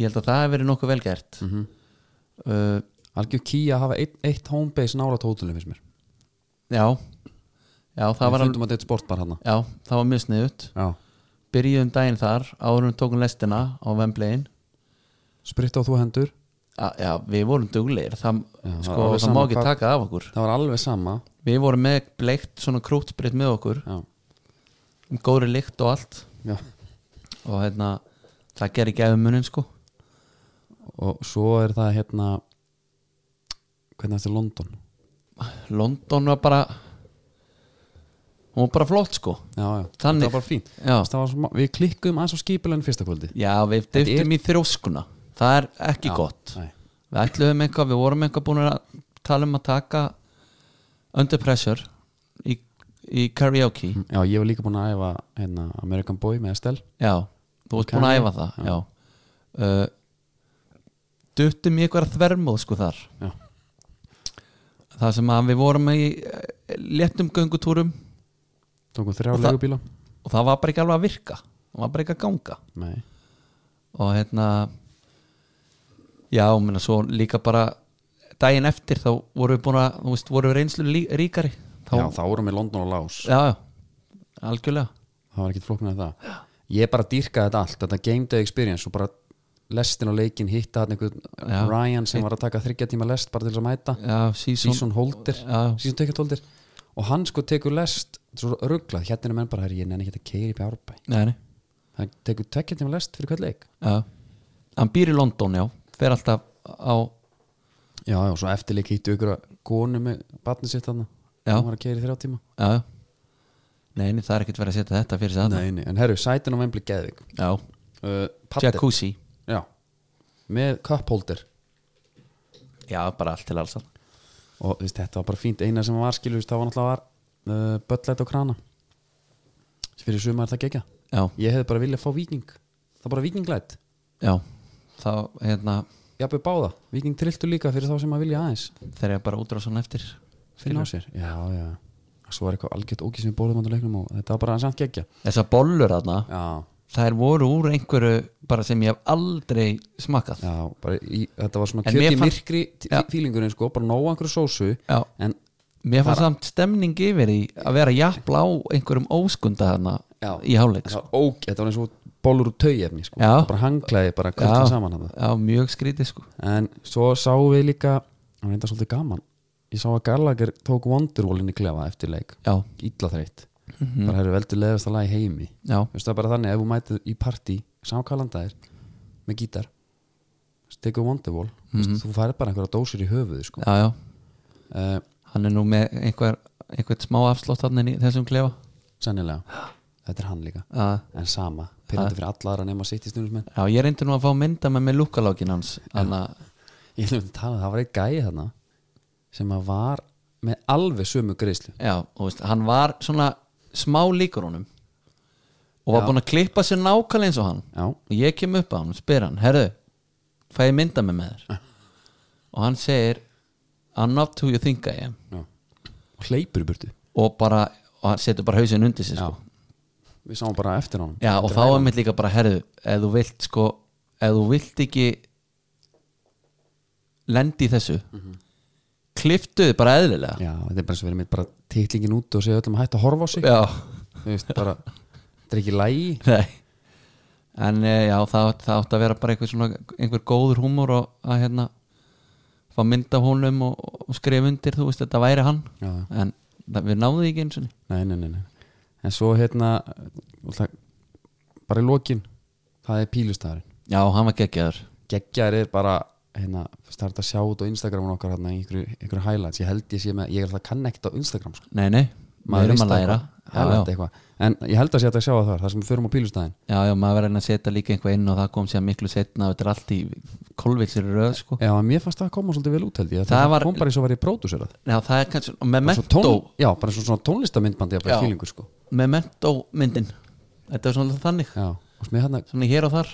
B: ég held að það hefur verið nokkuð vel gert mm
A: Mhm.
B: -hmm.
A: algjör kýja að hafa eitt, eitt homebase nála tótulum finnst mér
B: Já Já, það var,
A: við
B: alveg,
A: fundum að þetta er sportbar hann
B: já, það var mjög sniðut
A: já,
B: Byrjuðum daginn þar, árum tókum lestina á Vemblegin
A: spritt á þú hendur
B: Já, við vorum duglegir Það,
A: það
B: sko,
A: var alveg
B: það má
A: sama
B: ekki
A: hvað-
B: taka af okkur
A: það var alveg sama
B: Við vorum með bleikt svona krútsprit með okkur
A: já,
B: um góðri lykt og allt
A: já.
B: og hérna, það gerir gæfum munin sko
A: og svo er það hérna hvernig þetta er London
B: London var bara hún var bara flott sko
A: já, já,
B: Þannig.
A: þetta var bara fínt
B: Já,
A: Það var svo, við klikkuðum aðeins á skipulegin fyrsta kvöldi
B: já við
A: Þetta er-
B: deyftum í þrjóskuna Það er ekki gott
A: Nei.
B: við ætluðum eitthvað, við vorum eitthvað búin að tala um að taka under pressure í, í karaoke
A: já, ég var líka búin að æfa hérna, American Boy með Estelle
B: já, þú varst búin að æfa það já, Uh, duttum í eitthvað þvermóð sko þar
A: Já.
B: það sem að við vorum í eh, léttum göngutúrum
A: tókum þrjá
B: Og það-
A: legubíla
B: og það var bara ekki alveg að virka það var bara ekki að ganga
A: Nei.
B: og hérna já, menna svo líka bara daginn eftir þá vorum við búin að þú veist, vorum við reynslu lí- ríkari
A: já, þá vorum við London og Lás
B: já, já, algjörlega
A: það var ekkert flóknar en það ég bara dýrkaði þetta allt, þetta game day experience og bara lestin og leikin hitta hann einhvern
B: Já.
A: Ryan sem var að taka þryggja tíma lest bara til þess að mæta
B: já, season,
A: season holder,
B: Já.
A: season ticket holder og hann sko tekur lest svo rugglað, hérna er menn bara, "Herri, ég nenni ekki að keiri upp í árbæ
B: Nei, nei,
A: hann tekur tveggja tíma lest fyrir hvert leik
B: já hann býr í London, já, fer alltaf á
A: já, já, og svo eftirleik hittu ykkur að konu með batni sitt hann
B: Já.
A: hann var að keiri þrjá tíma
B: já, já nei, nei, það er ekkert verið að setja þetta fyrir sig þarna.
A: nei, nei. en herru, sætin á vembli geðvik
B: já,
A: uh, padel.
B: jacuzzi
A: já, með cup holder
B: já, bara allt til alls þarna.
A: og þú veist, þetta var bara fínt eina sem var skilur, þú veist, það var náttúrulega var uh, böllætt og krana fyrir sumar er það gegja
B: já,
A: ég hefði bara viljað fá viking það er bara vikinglætt,
B: já þá, hérna,
A: jafnveg báða viking trilltu líka fyrir þá sem að vilja aðeins
B: þegar ég bara útrá svona eftir
A: finna á sér, já, já svo var eitthvað algjört ógið sem við bóðum á leiknum og þetta var bara samt gegja
B: þessar bollur þarna,
A: já,
B: þær voru úr einhverju bara sem ég hef aldrei smakkað
A: já, bara í, þetta var svona
B: En mér
A: kjöti
B: fannst-
A: myrkri
B: Já.
A: fílingurinn sko, bara nóa einhverju sósu
B: Já.
A: en
B: mér fannst samt stemning yfir í að vera jafnla á einhverjum óskunda þarna
A: Já.
B: í sko. háleik
A: það var óg, þetta var eins og bólur úr taujefni sko,
B: Já.
A: bara hanglaði bara kvöldan
B: já,
A: saman hann
B: já, mjög skrítið sko
A: en svo sáum við líka það var reynda svolítið gaman ég sá að Gallagher tók Wonderwallin í klefa eftir leik
B: já,
A: illa þreytt bara hefur veldur leðast að laga í heimi
B: já,
A: Þú veist það er bara þannig ef þú mætið í partí samkalandaðir með gítar þú tekur Wonderwall mm -hmm. þú færir bara einhverja dósir í höfuðu sko.
B: já, já
A: uh,
B: hann er nú með einhver, einhvern smá afslótt hann í þessum klefa
A: sennilega þetta er hann líka
B: að,
A: en sama pyrrandi fyrir alla aðra nema sitt í stundismenn
B: já, ég reyndi nú að fá mynda með með lúkalákin hans hann að,
A: ég lefði að tala um það var eitt gæi þarna sem að var með alveg sömu greiðslu
B: já, þú veist, hann var svona smá líkur honum og var
A: Já.
B: búin að klippa sér nákvæmlega eins og hann
A: Já,
B: og ég kem upp á hann og spyr hann herðu, fæ ég mynda mig með þér og hann segir I'm not who you think I am
A: já Hleypur í burtu
B: og bara, og hann setur bara hausinn undir sér
A: Já
B: sko.
A: Við sáum bara eftir honum
B: já, og þá er mitt líka bara herðu ef þú vilt sko, ef þú vilt ekki lendi í þessu mm -hmm. kliftuðu bara eðlilega
A: Já, þetta er bara svo verið mitt bara titlingin út og segja öllum að hætta að horfa á sig
B: já,
A: Þú veist, bara Þetta er ekki lægi
B: nei en eh, já, það, það átti að vera bara einhver, svona, einhver góður húmor og að hérna fá mynd af honum og, og skrifa undir þú veist, þetta væri hann
A: Já, já.
B: en það, við náðum því ekki eins og
A: nei, nei, nei, nei En svo hérna það, Bara í lokin Það er pílustæðurinn
B: já, hann var geggjaður
A: Geggjar er bara hérna, starta að sjá út á Instagramun okkar hérna, í einhverju, einhverju highlights, ég held ég sé með ég er alltaf kann ekkert á Instagram sko.
B: nei, nei, maður erum
A: veist
B: að læra
A: eitthvað,
B: já,
A: highlight
B: já,
A: eitthvað. en ég held að sé hægt að sjá það þar, þar sem við förum á pílustæðin
B: já, já, maður verður að setja líka einhvað inn og það kom sér miklu setna og þetta er allt í kolvilsir röð sko.
A: Já, en mér fannst það að koma svolítið vel út held ég
B: Það
A: Það, það
B: var-
A: kom bara eins og var ég pródúserað
B: já, það er kannski, og
A: Bara svo
B: memento
A: tón- Já, bara eins og svona tónlistamindbandi
B: Já.
A: bara fílingur sko
B: memento myndin þetta er svona þannig,
A: Já, og smið hérna,
B: svona hér og þar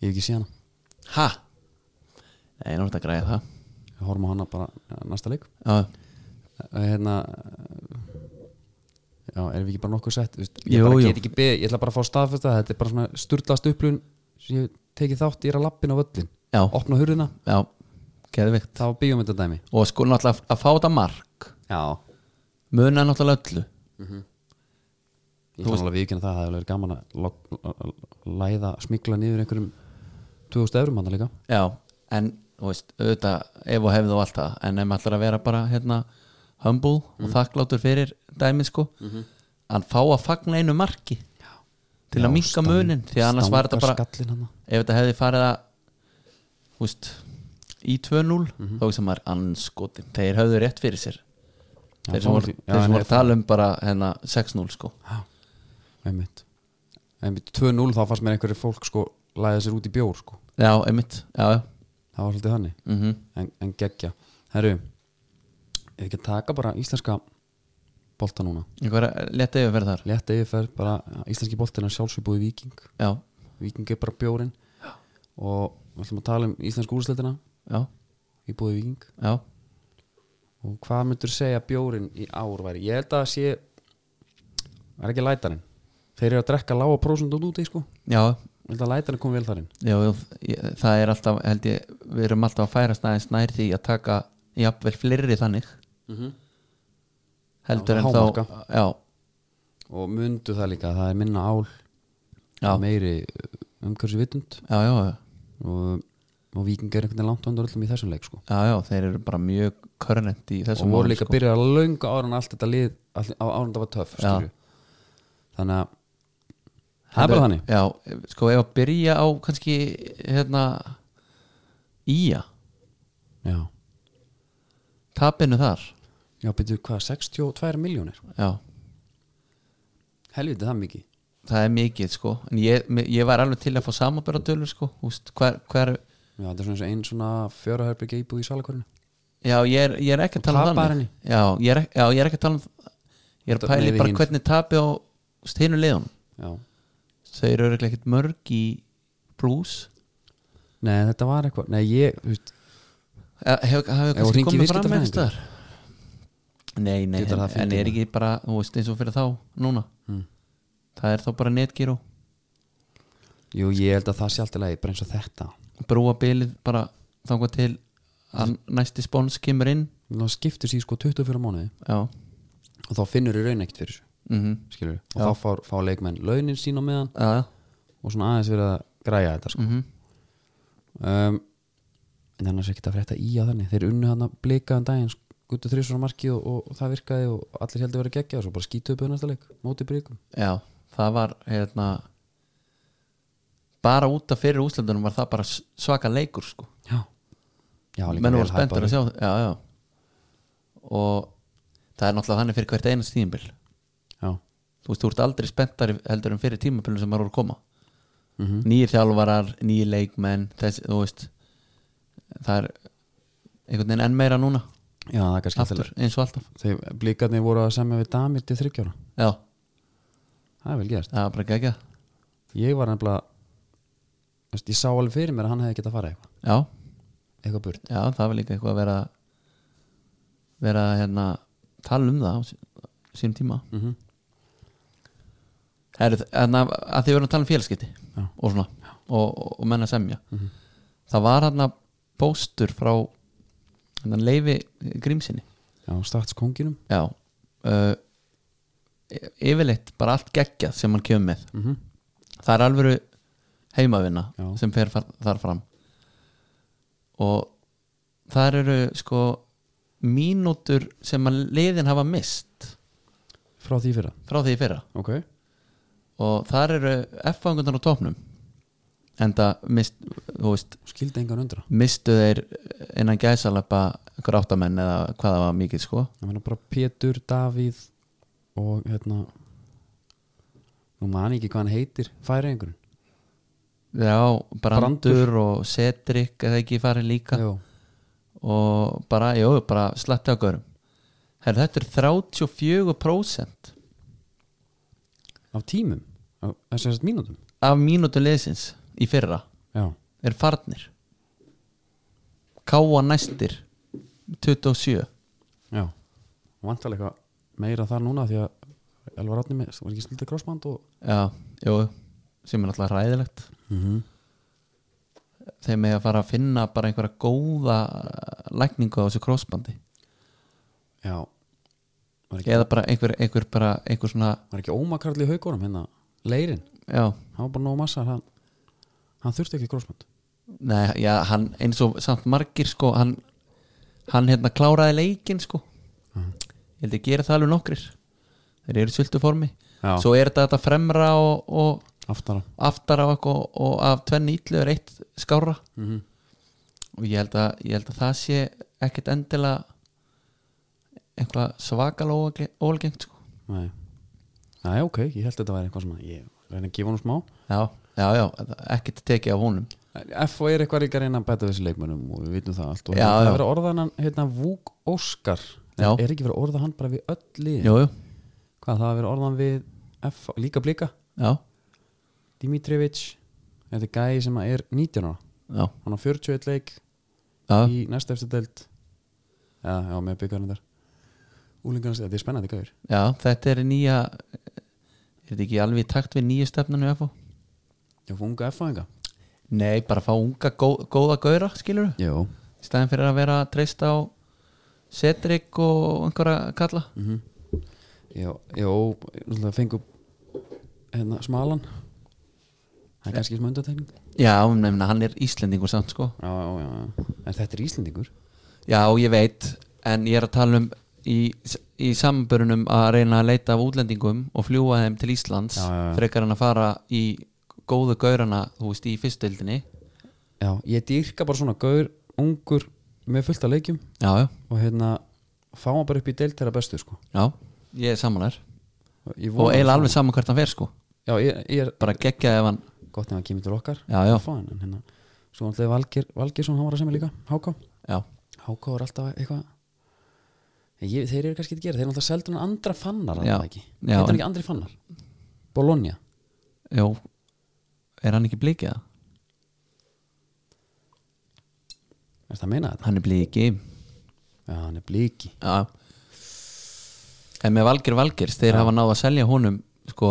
A: ég hef ekki séð hana
B: ha, nei, nú er þetta að græða það
A: Við horfum á hana bara eh, næsta leik
B: já,
A: Eh, Hérna eh, Já, erum við ekki bara nokkuð sett Vist, Ég
B: Jú,
A: bara
B: jú.
A: get ekki beðið, ég ætla bara að fá staðfesta Þetta er bara svona sturlast upplun sem ég hef tekið þátt, ég er að lappin á völlin
B: Já.
A: Opna hurðina,
B: já, geðvikt
A: það var bíómyndadæmi
B: og sko náttúrulega að fá þetta mark
A: Já,
B: muna náttúrulega öllu
A: ég kann alveg viðkynna það Það hefur verið gaman að lok- að læða smikla niður einhverjum 2000 eurum hann líka
B: já, en þú veist, auðvitað ef og hefðu og allt það, en ef maður ætlar að vera bara hérna humble
A: Mhm.
B: og þakklátur fyrir dæmið sko hann fá að fagna einu marki til að minka munin því að annars var þetta bara,
A: Skallin hann
B: ef þetta hefði farið að þú veist í 2-0,
A: Mhm.
B: þá sem maður anskotin þeir höfðu rétt fyrir sér
A: Já,
B: þeir sem
A: sammála
B: voru
A: því. Já,
B: þeir sem
A: en
B: voru
A: ef-
B: að tala um bara hérna 6-0 sko
A: einmitt einmitt 2-0 þá fannst mér einhverju fólk sko læða sér út í bjór sko
B: já, einmitt, já, já
A: það var svolítið þannig
B: mm
A: en, en geggja herru ef ekki að taka bara íslenska bolta núna
B: einhverja leta eh, yfirferð þar
A: létta yfirferð bara íslenski boltin er sjálfsögbúið viking
B: já,
A: viking er bara bjórin og við ætlum að tala um íslensku úrslitina
B: já,
A: í búið viking
B: já
A: og hvað myndur segja bjórin í ár væri ég held að það sé það er ekki lætarinn þeir eru að drekka lága prósund út úti sko ég
B: já,
A: held að lætarinn kom vel þarinn
B: já, já ég, það er alltaf held ég, við erum alltaf að færast aðeins nær því að taka jafnvel fleiri þannig
A: Já,
B: heldur en
A: hámarka.
B: þá já,
A: og mundu það líka að það er minna ál
B: Já.
A: meiri umhverfis vitund
B: já, já, já,
A: og, og viking er einhvern veginn langt á undan öllum í þessum leik sko.
B: já, já þeir eru bara mjög körnend í
A: og
B: þessum
A: voru
B: málum,
A: líka sko. byrjað að löngu ára en allt þetta lið all, á ára en það var töff
B: Já.
A: skilju. þannig að það er bara þannig
B: já, sko ef að byrja á kannski hérna íja,
A: já,
B: tapinu þar
A: já byrjuðu hvað 62 miljónir,
B: já,
A: helviti það mikið
B: það er mikið sko en ég, ég var alveg til að fá samanbyrðatölur sko, húst, hver, hver
A: já þetta er svona eins og ein svona fjöraherbyggja íbúð í salakörinu
B: Já, ég er, ég er ekki að tala um
A: tapar
B: þannig
A: henni.
B: já ég, er, já, ég er ekki að tala um Ég er að
A: Þetta-
B: pæli
A: nei,
B: bara
A: hinn.
B: hvernig tapi á steinu liðun
A: já,
B: Þau eru örugglega ekkert mörg í blues
A: nei þetta var eitthvað nei ég, þú veist,
B: Hefur E,
A: Ef
B: hef,
A: þú
B: kannski
A: hringir
B: komið fram
A: viðskiptafræðing?
B: einhvers staðar Nei, nei,
A: Getur
B: en,
A: það Hmm. fundið
B: en er ekki bara þú veist, eins og fyrir þá núna Það er þá bara netgíru
A: jú ég held að það sé alltaf leið bara eins og þetta,
B: brúa bilið bara þangað til að næsti spons kemur inn
A: það skiptir sér sko 24 mánuði
B: Já,
A: og þá finnur þau raun ekkert fyrir þessu
B: mhm,
A: skilur og þá fá, fá leikmenn launin sín á meðan
B: já,
A: og svona aðeins verið að græja þetta sko.
B: mhm
A: um, en annars er ekkert að frétta í á þannig þeir unnu hann að blika um daginn guttu þrísvara marki og, og, og það virkaði og allir heldur að vera geggja og svo bara skýtu upp í næsta leik móti bryggum
B: Já, það var hérna bara út af fyrir úslandunum var það bara s- svaka leikur sko
A: já, já líka
B: menn
A: vel
B: voru spenntur
A: hypaður.
B: að sjá já, já. og það er náttúrulega þannig fyrir hvert einast tímabil
A: já,
B: þú veist, þú ert aldrei spenntari heldur en fyrir tímabilum sem maður voru að koma mm
A: Mhm.
B: -hmm. nýjir þjálfarar, nýjir leikmenn þess, þú veist það er einhvern veginn enn meira núna
A: já, það er kannski
B: aftur, eins og alltaf
A: þegar blikarnir voru að semja við damir til þryggjára
B: já,
A: það er vel gert
B: það er bara gegja
A: ég var nefnilega þú veist, ég sá alveg fyrir mér að hann hefði getað að fara eitthvað
B: já,
A: eitthvað burt
B: já, það var líka eitthvað að vera vera hérna tala um það á sí- sínum tíma mm -hmm. Heru, hérna, að því við erum að tala um félskipti
A: Já. Mhm.
B: og svona og, og, og menna semja það var hérna póstur frá hérna, leifi grímsinni
A: já, statskonginum
B: já uh, y- yfirleitt bara allt geggjað sem hann kemur með
A: Mhm.
B: það er alvöru heimavinna
A: Já.
B: sem fer far, þar fram og þar eru sko mínútur sem að liðin hafa mist
A: frá því fyrra
B: frá því í fyrra
A: ok,
B: og þar eru F-fangundan á topnum enda mist, þú veist,
A: skildi engan undra
B: mistu þeir innan gæsalappa gráttamenn eða hvað það var mikið sko
A: ég meina bara Pétur, Davíð og hérna nú man ég ekki hvað hann heitir færiðingurinn
B: Já, brandur,
A: Brandur.
B: og Cedric eða ekki farið líka
A: Jú.
B: og bara, jú, bara slatti á görum Herra, þetta er 34%
A: af tímum, af þessast mínútum
B: af mínútu liðsins í fyrra
A: já,
B: er farnir Káa næstir 27
A: já vantalega eitthvað meira þar núna því að Elvar Átni með, var ekki snildið krossband og
B: Já, jú, sem er náttúrulega ræðilegt
A: Mhm.
B: Þegar með að fara að finna bara einhverja góða lækningu á þessu krossbandi
A: já, var ekki,
B: eða bara einhver, einhver, bara einhver svona
A: var ekki ómakarl í haugunum hérna, leirinn,
B: já,
A: hann var bara nóg massar hann, hann þurfti ekki krossband
B: Nei, já, hann eins og samt margir sko, hann, hann hérna kláraði leikinn sko ég held að gera það alveg nokkrir þeir eru í sultu formi
A: Já.
B: svo er þetta, þetta fremra og, og
A: aftara,
B: aftara og, og, og af tvenni ítlu er eitt skára
A: Mhm.
B: -hmm. og ég held, að, ég held að það sé ekkert endilega einhvað svakal óalgengt sko.
A: nei nei, ok, ég held þetta væri eitthvað sem að ég reyna að gefa hann smá
B: já, já, já, ekkert tekið af honum
A: F.O. er eitthvað líka að reyna að bæta þessi leikmönnum og við vitum það allt og
B: Já,
A: það
B: já.
A: verið orðanan hérna Vúk Óskar
B: Já.
A: er ekki verið orðað hann bara við öll lið
B: jú, jú,
A: hvað það verið orðan við F, líka blika
B: já,
A: Dimitrivic, þetta er gæi sem að er 19 ára,
B: já,
A: hann á 41 leik
B: já.
A: í næsta eftir deild já, já, með byggarinn þar úlingarnas, þetta er spennandi gæður
B: Já, þetta er nýja er þetta ekki alveg í takt við nýju stefnanu FO?
A: já, fá unga F.O. enga
B: Nei, bara fá unga gó, góða gauðra skilur við,
A: já,
B: í staðin fyrir að vera að treysta á Cedric og einhverja kalla
A: já, já náttúrulega fengu hérna smalan það er kannski smá undantekning
B: Já, nefna, hann er Íslendingur samt sko
A: já, já, já, já. en þetta er Íslendingur
B: Já, ég veit, en ég er að tala um í, í sambörunum að reyna að leita af útlendingum og fljúa þeim til Íslands
A: Já, já, já.
B: frekar en að fara í góðu gaurana, þú veist, í fyrstöldinni
A: Já, ég dýrka bara svona gaur, ungur með fullt af leikjum
B: Já, já,
A: og hérna fá hann bara upp í deilt þeirra bestu sko
B: já, ég er samanlegar
A: Ég
B: og
A: vona-
B: eiginlega alveg saman hvert hann fer sko
A: Já, ég, ég er
B: bara geggja ef hann
A: gott ef hann kemur til okkar
B: Já, já.
A: Fá hann, en hérna Svo hann Valgir, Valgirsson, hann var að semja líka Háká,
B: já,
A: Háká er alltaf eitthvað En ég, Þeir eru kannski ekki að gera, þeir eru alltaf seldur hann andra fannar
B: Já,
A: hann ekki
B: já,
A: Heitir hann
B: en-
A: ekki andri fannar Bologna
B: já er hann ekki blikið það?
A: Er það að meina þetta?
B: hann er blikið
A: Já, hann er blíki
B: já. en með Valgir Valgirs þeir hafa náð að selja honum sko,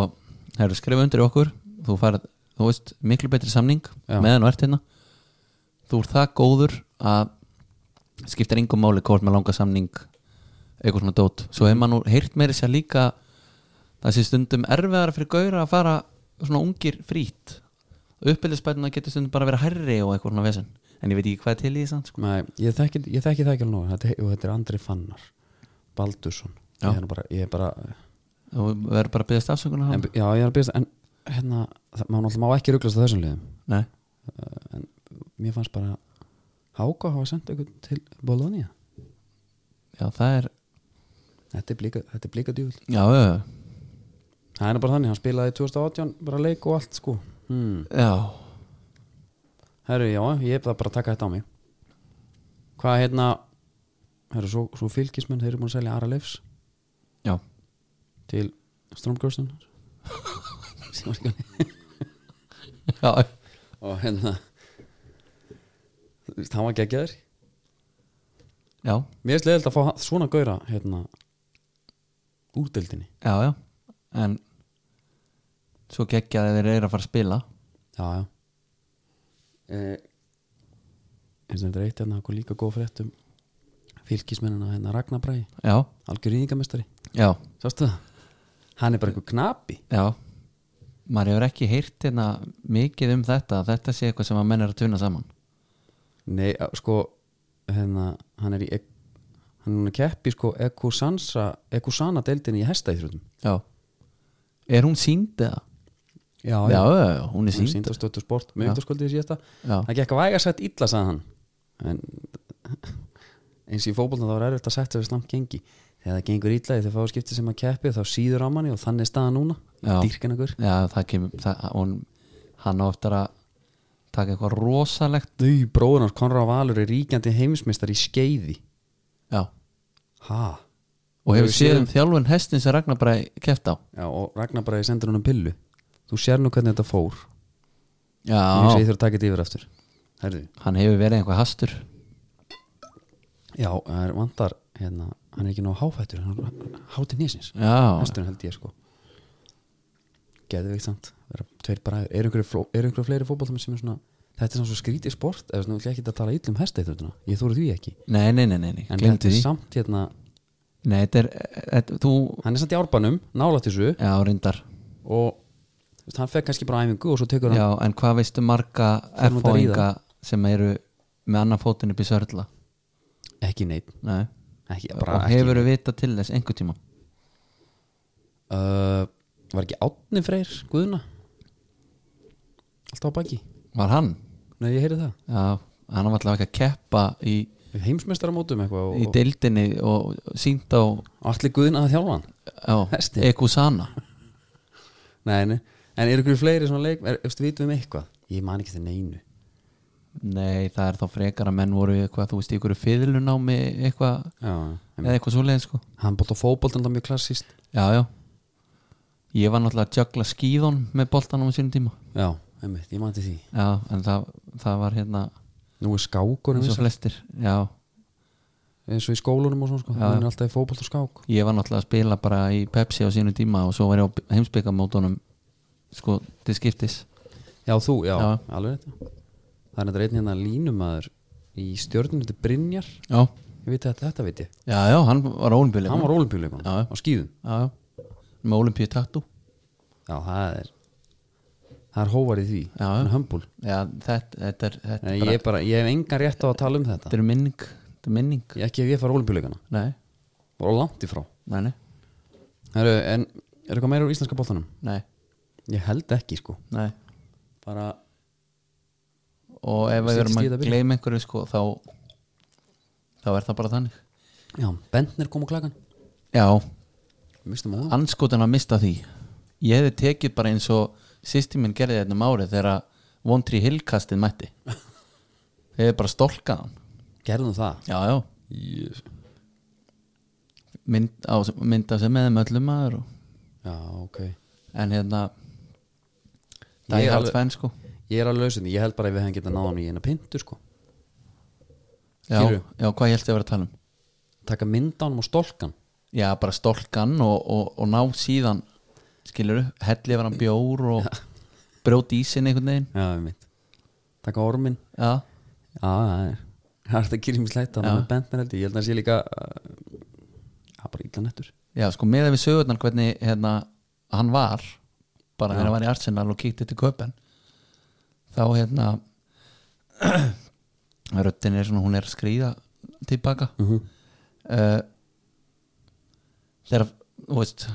B: það eru skrifa undir okkur þú farið, þú veist, miklu betri samning
A: Já.
B: meðan og ert hérna þú ert það góður að skiptir engum máli hvort með langa samning eitthvað svona dót svo hefur maður nú heyrt meiri sér líka það sé stundum erfiðara fyrir gauðra að fara svona ungir frýtt uppbyldisbætuna getur stundum bara að vera herri og eitthvað svona vesen en ég veit ekki hvað er til í þessan sko.
A: Nei, ég þekki, ég þekki það ekki alveg nóg þetta, Og þetta er andri fannar Baldursson
B: Já.
A: Ég er nú bara, ég er bara
B: þú verður bara að byggja stafsökunar
A: en,
B: hann
A: já, ég er að byrja en hérna, það, maður náttúrulega má ekki ruglast á þessum liðum
B: Nei.
A: uh, en mér fannst bara Háka hafa sendt ykkur til Bologna
B: já það er
A: þetta er blika, þetta er blika djúl
B: já, já, já.
A: það er nú bara þannig, hann spilaði 2018 bara leik og allt sko hmm.
B: já.
A: herru, já, ég hef það bara að taka þetta á mig hvað hérna herru, svo, svo fylgismenn, þeir eru búin að selja Ara Leifs
B: já.
A: til Stormgirlstun sem var ekki alveg
B: já,
A: og hérna þú veist, hann var geggjaður
B: já,
A: mér er slegilegt að fá hann- svona gauðra hérna úr deildinni
B: já, já en svo geggja þeir eru að fara að spila
A: já, já eh, eins og þetta er eitt hérna hann líka góð frétt um fylgismennina hérna Ragnar Bræ
B: já,
A: algjör íðingamestari,
B: já,
A: sástu það hann er bara einhver knapi
B: já maður hefur ekki heyrt hérna mikið um þetta að þetta sé eitthvað sem að menn er að tuna saman
A: Nei, a- sko hérna, hann er í ek- hann er núna að keppi sko Ekusansa, Ekusana deildinni í hestaíþrjóðum
B: já, er hún sínd eða?
A: Já,
B: já, já, já, hún er
A: Hún
B: sínd
A: sínd á stöttu sport, mjögtaskvöldið síðasta
B: Já.
A: Það gekk að væga sett illa, sagði hann En eins í fótbolna þá var erfitt að setja við slangt gengi Þegar það gengur illa, þegar fáið skipti sem að keppi þá síður á manni og þannig er staðan núna
B: Já.
A: Dýrkinakur
B: já, það kemur það, hún, hann á eftir að taka eitthvað rosalegt
A: Þau bróðunars Konrad Valur er ríkjandi heimsmeistar í skeiði
B: já,
A: Ha?
B: og hefur
A: Hefur séð-
B: séð um þjálfun hestin sem Ragnar bara keft á
A: Já, og Ragnar bara sendir hann um pillu Þú sér nú hvernig þetta fór Ég hugsa
B: já,
A: ég þurf að taka þetta yfir aftur Herðu,
B: hann hefur verið einhvað hastur
A: já, það er vantar hérna, hann er ekki nóg háfættur hann er hátir nýsins
B: já,
A: Hesturinn held ég sko Geðveikt samt, vera tveir bræður Eru einhverju fló- eru einhverju fleiri fótboltum sem er svona Þetta er svona svo skrítið sport eða svona, ég ætla ekki að tala um illum hesta í þjóttuna Ég þóru því ekki
B: nei, nei, nei, nei, nei.
A: En
B: glemdu
A: þetta er
B: því
A: samt hérna
B: nei, þetta er, þetta, þú
A: Hann er samt í árbanum, nálætt þessu
B: já, reyndar
A: og þú veist, hann fekk kannski bara æfingu og svo tekur hann
B: já, en hvað veistu marga
A: Förum út að
B: F-óinga sem eru með annan fótinn upp í sörla
A: ekki neitt
B: nei,
A: ekki, bara
B: og
A: ekki.
B: hefur við vita til þess einhver tíma
A: uh, Var ekki átni freyr Guðuna Alltaf á baki
B: var hann,
A: Nei, ég heyri það
B: já, hann var alltaf ekki að keppa í,
A: Heimsmeistaramótum eitthvað
B: í
A: og,
B: deildinni og sínt á
A: og allir Guðuna að þjálfa hann
B: já,
A: Hesti.
B: Ekusana
A: Nei, nei En eru ykkur fleiri svona leik er, Eftir vitum við um eitthvað Ég man ekki þetta neinu
B: nei, það er þá frekar að menn voru eitthvað, þú veist, ykkur fiðlunámi eitthvað,
A: Já
B: eða eitthvað svoleiðin sko
A: Hann bótt á fótbolt en það mjög klassist
B: Já, já Ég var náttúrulega að jökla skíðun með boltanum á sínum tíma
A: Já, einmitt, ég man til því
B: Já, en það, það var hérna
A: Nú er skákunum
B: eins og
A: eins og,
B: flestir Já,
A: eins og í skólunum og svona sko
B: Já.
A: Það er alltaf í fótbolt og skák
B: ég var náttúrulega að spila bara í Pepsi á sínum tíma og svo var ég á heimsbyggamótunum sko, til skiptis
A: Já, þú, já,
B: Já.
A: alveg þetta Það er þetta einn hérna línumæður Í stjörnum þetta er Brynjar
B: Já,
A: Ég veit þetta, þetta veit ég
B: já, já hann var ólimpíuleik
A: Hann var ólimpíuleikunum
B: Já.
A: á skýðum
B: Já, já, með ólimpíu tattu
A: Já, það er Það er hóvar í því,
B: Já,
A: hann
B: já.
A: er hömbul
B: Já, þetta, þetta er þetta,
A: Nei,
B: er
A: ég,
B: bara,
A: er bara, ég hef engan rétt á að tala um þetta
B: þetta er minning Þetta er minning
A: Ég ekki ef ég fara ólimpíuleikana
B: Nei,
A: Bara langt í frá
B: nei, nei,
A: Heru, En er eitthvað meira úr íslenska boltanum?
B: nei,
A: Ég held ekki sko
B: nei.
A: Bara
B: og ef við
A: Setjist
B: erum
A: í
B: að
A: þetta byrjun.
B: gleyma einhverju sko, þá, þá er það bara þannig
A: Já, Bentner kom á klagan
B: já,
A: Mistum á hann
B: anskotin að mista því ég hefði tekið bara eins og sýsti minn gerði þetta um árið þegar að Vondri Hillkastið mætti þeir hefði bara stolkað hann
A: Gerðum það
B: já, já,
A: yes.
B: mynd, á, mynd af sem með þeim öllum maður og,
A: Já, ok
B: en hérna
A: Ég
B: það
A: er
B: er
A: alveg-
B: alls fenn sko
A: Ég er alveg lausin, ég held bara að við hefum getað náðan í eina pintu sko
B: já,
A: Skilurðu?
B: já, hvað ég held ég að vera að tala um
A: Taka myndanum og stólkan
B: já, bara stolkan og, og, og ná síðan skilur, helli yfir hann bjór og brjóti í sinni einhvern veginn
A: Já, við mitt Taka ormin
B: já,
A: Já, það er Það er þetta að kýrjum slæta
B: Já.
A: Það er Bentner held ég, ég held að hann sé líka uh, Já, bara illa nettur
B: já sko með að við sögurnar hvernig hérna, hann var bara þegar hann var í Arsenal og kíkti til köpen þá hérna röddin er svona hún er að skrýða tilbaka uh þegar þú veist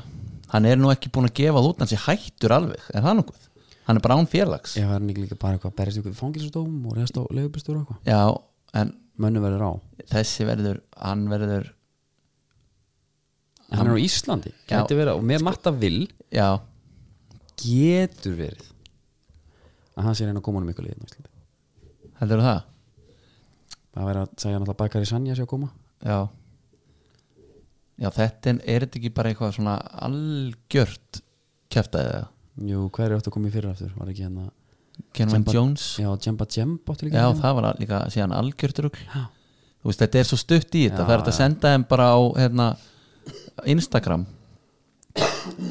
B: hann er nú ekki búin að gefa það út hann sé hættur alveg, er það nokkuð hann er bara án félags
A: Ég var hann ekki líka bara eitthvað að berjast ykkur fangilsdóm og reyðast á leifubistur og eitthvað
B: já en
A: Mönnu verður á
B: þessi verður hann verður,
A: Hann Sko- er á Íslandi,
B: Já.
A: gæti verið og með matta vill
B: já
A: getur verið að hann sé að reyna að koma honum ykkur liðin
B: heldur það
A: það væri að segja náttúrulega Bakari Sanja sé að koma
B: Já Já, þetta er, er þetta ekki bara eitthvað svona algjört kæftæðið
A: Jú, hver er átt að koma í fyrra aftur? Var ekki hérna
B: Kenwin
A: Jemba-
B: Jones
A: Já, Jemba Jemb áttur líka
B: Já,
A: hérna.
B: það var líka síðan algjört rugl
A: Já.
B: Þú veist, þetta er svo stutt í
A: Já,
B: þetta Það er hægt að
A: já.
B: senda þeim bara á hérna, Instagram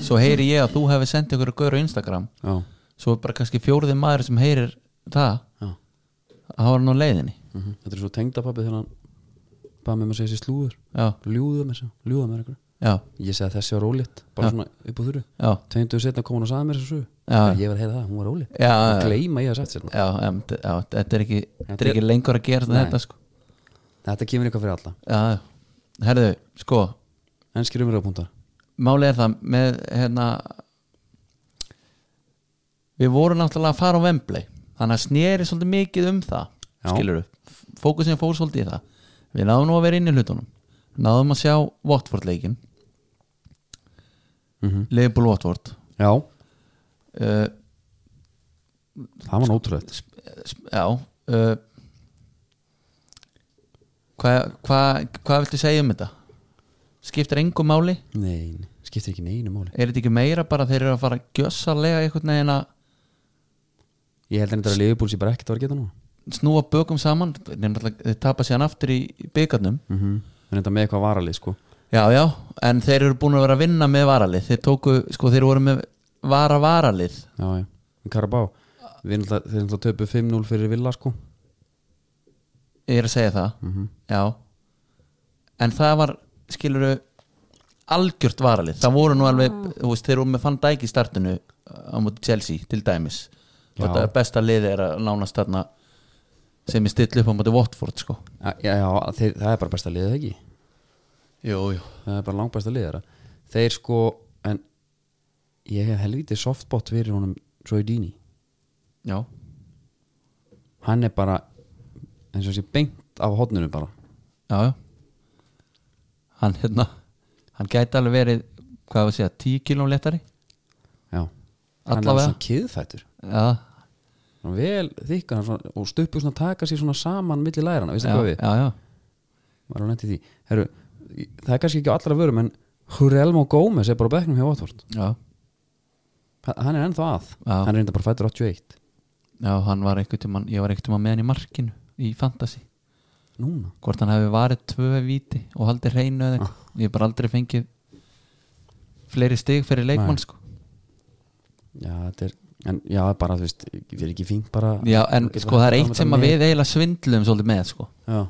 B: Svo heyri ég að þú hefði sendið ykkur að gaur á Instagram
A: Já,
B: Svo er bara kannski fjóruði maður sem heyrir það
A: já
B: að Það var nú leiðinni
A: mm Þetta er svo tengdapappi þegar hann Bað með mér að segja sér slúður
B: Já,
A: Ljúðu með sér, ljúða með ykkur
B: já,
A: Ég segi að þessi var ólétt, bara
B: Já.
A: svona upp á þurru
B: já
A: Tveimtuðu setna kom hún og sagði mér þessu
B: Já.
A: Ég var að heyra það, hún var ólétt
B: Já,
A: Og
B: já.
A: gleyma ég að sagt hérna. sérna
B: Já, em, d- já, þetta er ekki, þetta
A: er-
B: er ekki lengur að gera
A: Nei.
B: þetta sko
A: Þetta kemur eitthvað fyrir alla
B: Já, já. herðu, sko
A: Enskir umröðpuntar
B: Málið er það með hérna Við vorum náttúrulega að fara á Wembley Þannig að sneri svolítið mikið um það
A: Já.
B: Skilur upp, fókusin fór svolítið í það Við náðum nú að vera inn í hlutunum Náðum að sjá Watford leikin
A: mm
B: Liverpool Watford
A: Já,
B: uh,
A: það var nótrúlegt
B: sp- Já uh, Hvað hva, hva viltu segja um þetta? Skiptir engu máli?
A: Nei, nei, skiptir ekki neinu máli
B: Er þetta ekki meira bara þeir eru að fara gjössalega einhvern veginn að
A: Ég held endur að Liverpool sé bara ekkert að vera að geta nú
B: snúa bökum saman Þeir náttúrulega- þeir tapa síðan aftur í í bikarnum
A: mm -hmm. En þetta með eitthvað varalið sko
B: Já, já, en þeir eru búin að vera að vinna með varalið Þeir tóku, sko, þeir voru með vara-varalið
A: Já, já, en Karabá Við náttúrulega- Þeir náttúrulega töpu 5-0 fyrir Villa sko
B: Ég er að segja það Já En það var, skiluru algjört varalið Það voru nú alveg, þú veist, þeir voru með fann dæk í startinu á móti Chelsea, til dæmis
A: Já.
B: Og þetta besta liði er að nánast þarna sem er stillu upp á móti Watford, sko
A: Já, já, já þeir, það er bara besta liðið ekki
B: Jú, jú
A: Það er bara langbesta liðið þeirra Þeir sko, en Ég hef helvítið softbot fyrir honum Troy Deeney
B: Já,
A: Hann er bara eins og sé beint af hotninu bara
B: já, já Hann, hérna, hann gæti alveg verið, hvað var að segja, 10 kílum léttari
A: Já Hann er
B: Allavega.
A: svona kiðfættur
B: Já,
A: Svona vel þykkan svona, og stupur svona að taka sér svona saman milli lærana, veistu
B: já,
A: hvað við?
B: já, já.
A: Var hann eftir því? Heru, það er kannski ekki á allra vörum en Hurelmo Gómez er bara á bekknum hjá Watford
B: já,
A: Ha- Hann er ennþá að,
B: Já.
A: hann er enda bara fættur 81
B: já, hann var einhvern tímann ég var einhvern tímann með hann í markinu í fantasy
A: Núna
B: hvort hann hefði varið tvö víti og haldið hreinu eða
A: Ah.
B: eitthvað ég hef bara aldrei fengið fleiri stig fyrir leikmann
A: Nei.
B: sko
A: Já, þetta er, en, já bara þú veist við erum ekki fínt bara
B: já, en
A: Getur
B: sko það er
A: bara-
B: eitt sem að við eiginlega svindlum svolítið með sko
A: Já,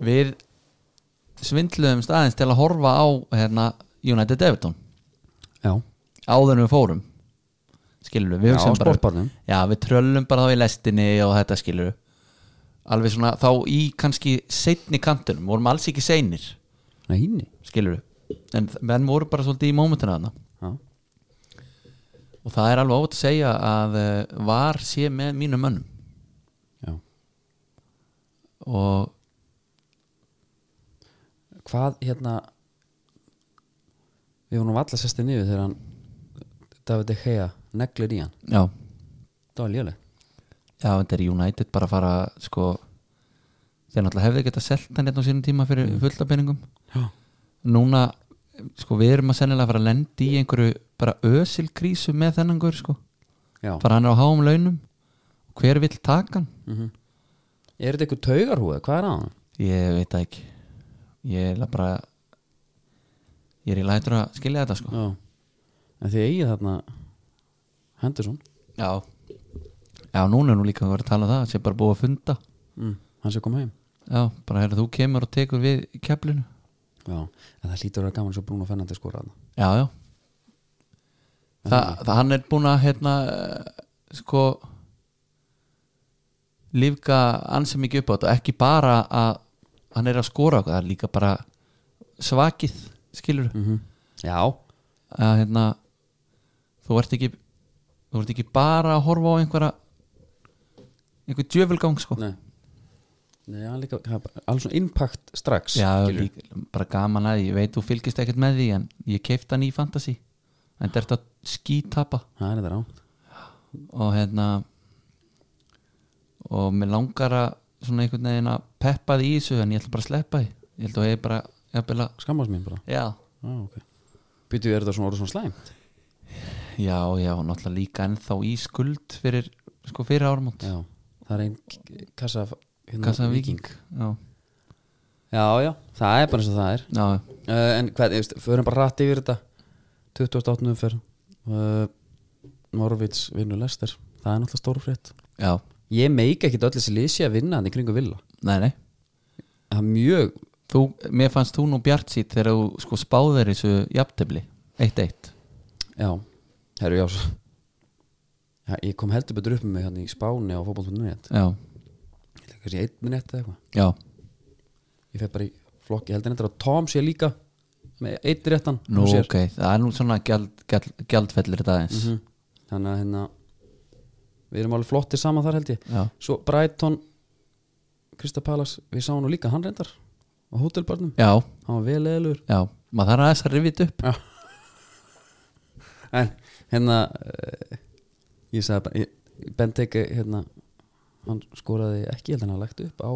B: við svindlum staðins til að horfa á hérna, United Everton
A: já,
B: áður en við fórum skilur við, við
A: Já,
B: hugsum
A: á sportbarnum.
B: já, við tröllum bara þá í lestinni og þetta skilur alveg svona þá í kannski seinni kantunum, vorum alls ekki seinir
A: nei hínni
B: skilur en þ- menn voru bara svolítið í mómentinu þarna
A: Já,
B: og það er alveg óvægt að segja að eh, var sé með mínum mönnum
A: já
B: og
A: Hvað hérna Við vorum alltaf sestir niður þegar hann David De Gea neglir í hann
B: já,
A: Það var léleg
B: já þetta er United bara að fara sko þeir náttúrulega hefði getað selt hann hérna á sínum tíma fyrir mm. fullta peningum
A: Já,
B: núna sko við erum að sennilega fara að lendi í einhverju bara ösilkrísu með þennan guður sko
A: já. Mhm.
B: bara hann er á háum launum hver vill taka hann?
A: Er þetta eitthvað taugarhúða? Hvað er að hann?
B: Ég veit það ekki ég er bara ég er í lætur að skilja þetta sko
A: Já En þið eigið þarna Henderson
B: já já núna er nú líka að vera að tala um það sem bara búið að funda
A: mm. Hann sé koma heim
B: já bara hérna þú kemur og tekur við keflinu
A: Já En það hlýtur að vera gaman svo Bruno Fernandes skora þarna
B: já já Þa, það hann er búin að hérna eh, sko lífga ansi mikið upp á þetta ekki bara að hann er að skora okkur, það er líka bara svakið skilur
A: mm Já
B: að hérna þú ert ekki þú ert ekki bara að horfa á einhverja einhver djöfulgang sko
A: Nei Nei, hann líka hann er bara- Alls svona impact strax
B: já,
A: skilur.
B: líka, bara gaman að því, ég veit þú fylgist ekkert með því en ég keifti hann í fantasy en þetta skítapa
A: Það er þetta rátt
B: og hérna og mér langar að svona einhvern veginn að peppa því í þessu en ég ætla bara að sleppa því ég held að ég bara, ég að
A: Skammast mín bara
B: já,
A: Já, ok Býtu, er þetta svona orðið svona slæmt?
B: já, já, og náttúrulega líka ennþá í skuld fyrir, sko, fyrir áramót
A: Já, það er einn k- kassa hérna,
B: Kassa Viking Já,
A: Já, já, það er bara eins og það er
B: já,
A: uh, En hvað, ég veist, förum bara rætt yfir þetta 28. umferð uh, Norvits vinnur Lester Það er náttúrulega stórfrétt
B: já,
A: Ég meika ekkit öll þessi lísi að vinna hann í kringu villa
B: nei, nei
A: Það er mjög,
B: þú, Mér fannst þú nú bjart sýtt þegar þú sko spáðir þessu jafntefli 1-1
A: já, herru já svo- Já, ég kom heldur betur upp með mig hann í Spáni á fótboll.net
B: Já,
A: Ég leik kannski einn netta eitthvað
B: já,
A: Ég fekk bara í flokki, ég heldur netta að Tom sé líka með eitt réttan
B: nú
A: og sér.
B: ok Það er nú svona gjald, gjald, gjaldfellir þetta aðeins
A: Mhm. þannig að hérna við erum alveg flottir saman þar held ég
B: Já,
A: svo Brighton Krista Palas, við sáum nú líka hann reyndar á hótelbarnum,
B: já,
A: hann var vel eðlur
B: já Maður þarf aðeins að rifja þetta upp
A: en hérna eh, ég sagði bara ég- Ben Teke hérna hann skoraði ekki, ég held að hann hafi lagt upp á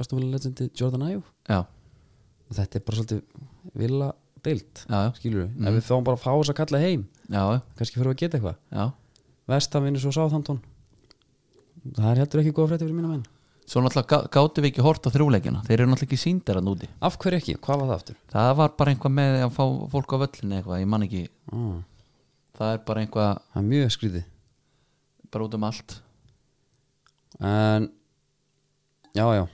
A: Astonvilla legendi Jordan Ayew
B: Já,
A: og þetta er bara svolítið villa deilt,
B: já, já,
A: skilur við ef við fáum bara að fá þess að kalla heim
B: já,
A: kannski fyrir við að geta eitthvað
B: já.
A: Vestam vinnur svo Southampton það er heldur ekki góð frétti fyrir mína menn
B: Svo náttúrulega gá- gátum við ekki hort á þrjúleikina Þeir eru náttúrulega ekki sýndar að núti
A: Af hverju ekki? Hvað var það aftur?
B: Það var bara einhvað með að fá fólk á völlinu eitthvað, ég man ekki
A: Ah,
B: Það er bara einhvað
A: það er mjög skrítið
B: bara út um allt
A: En Já, já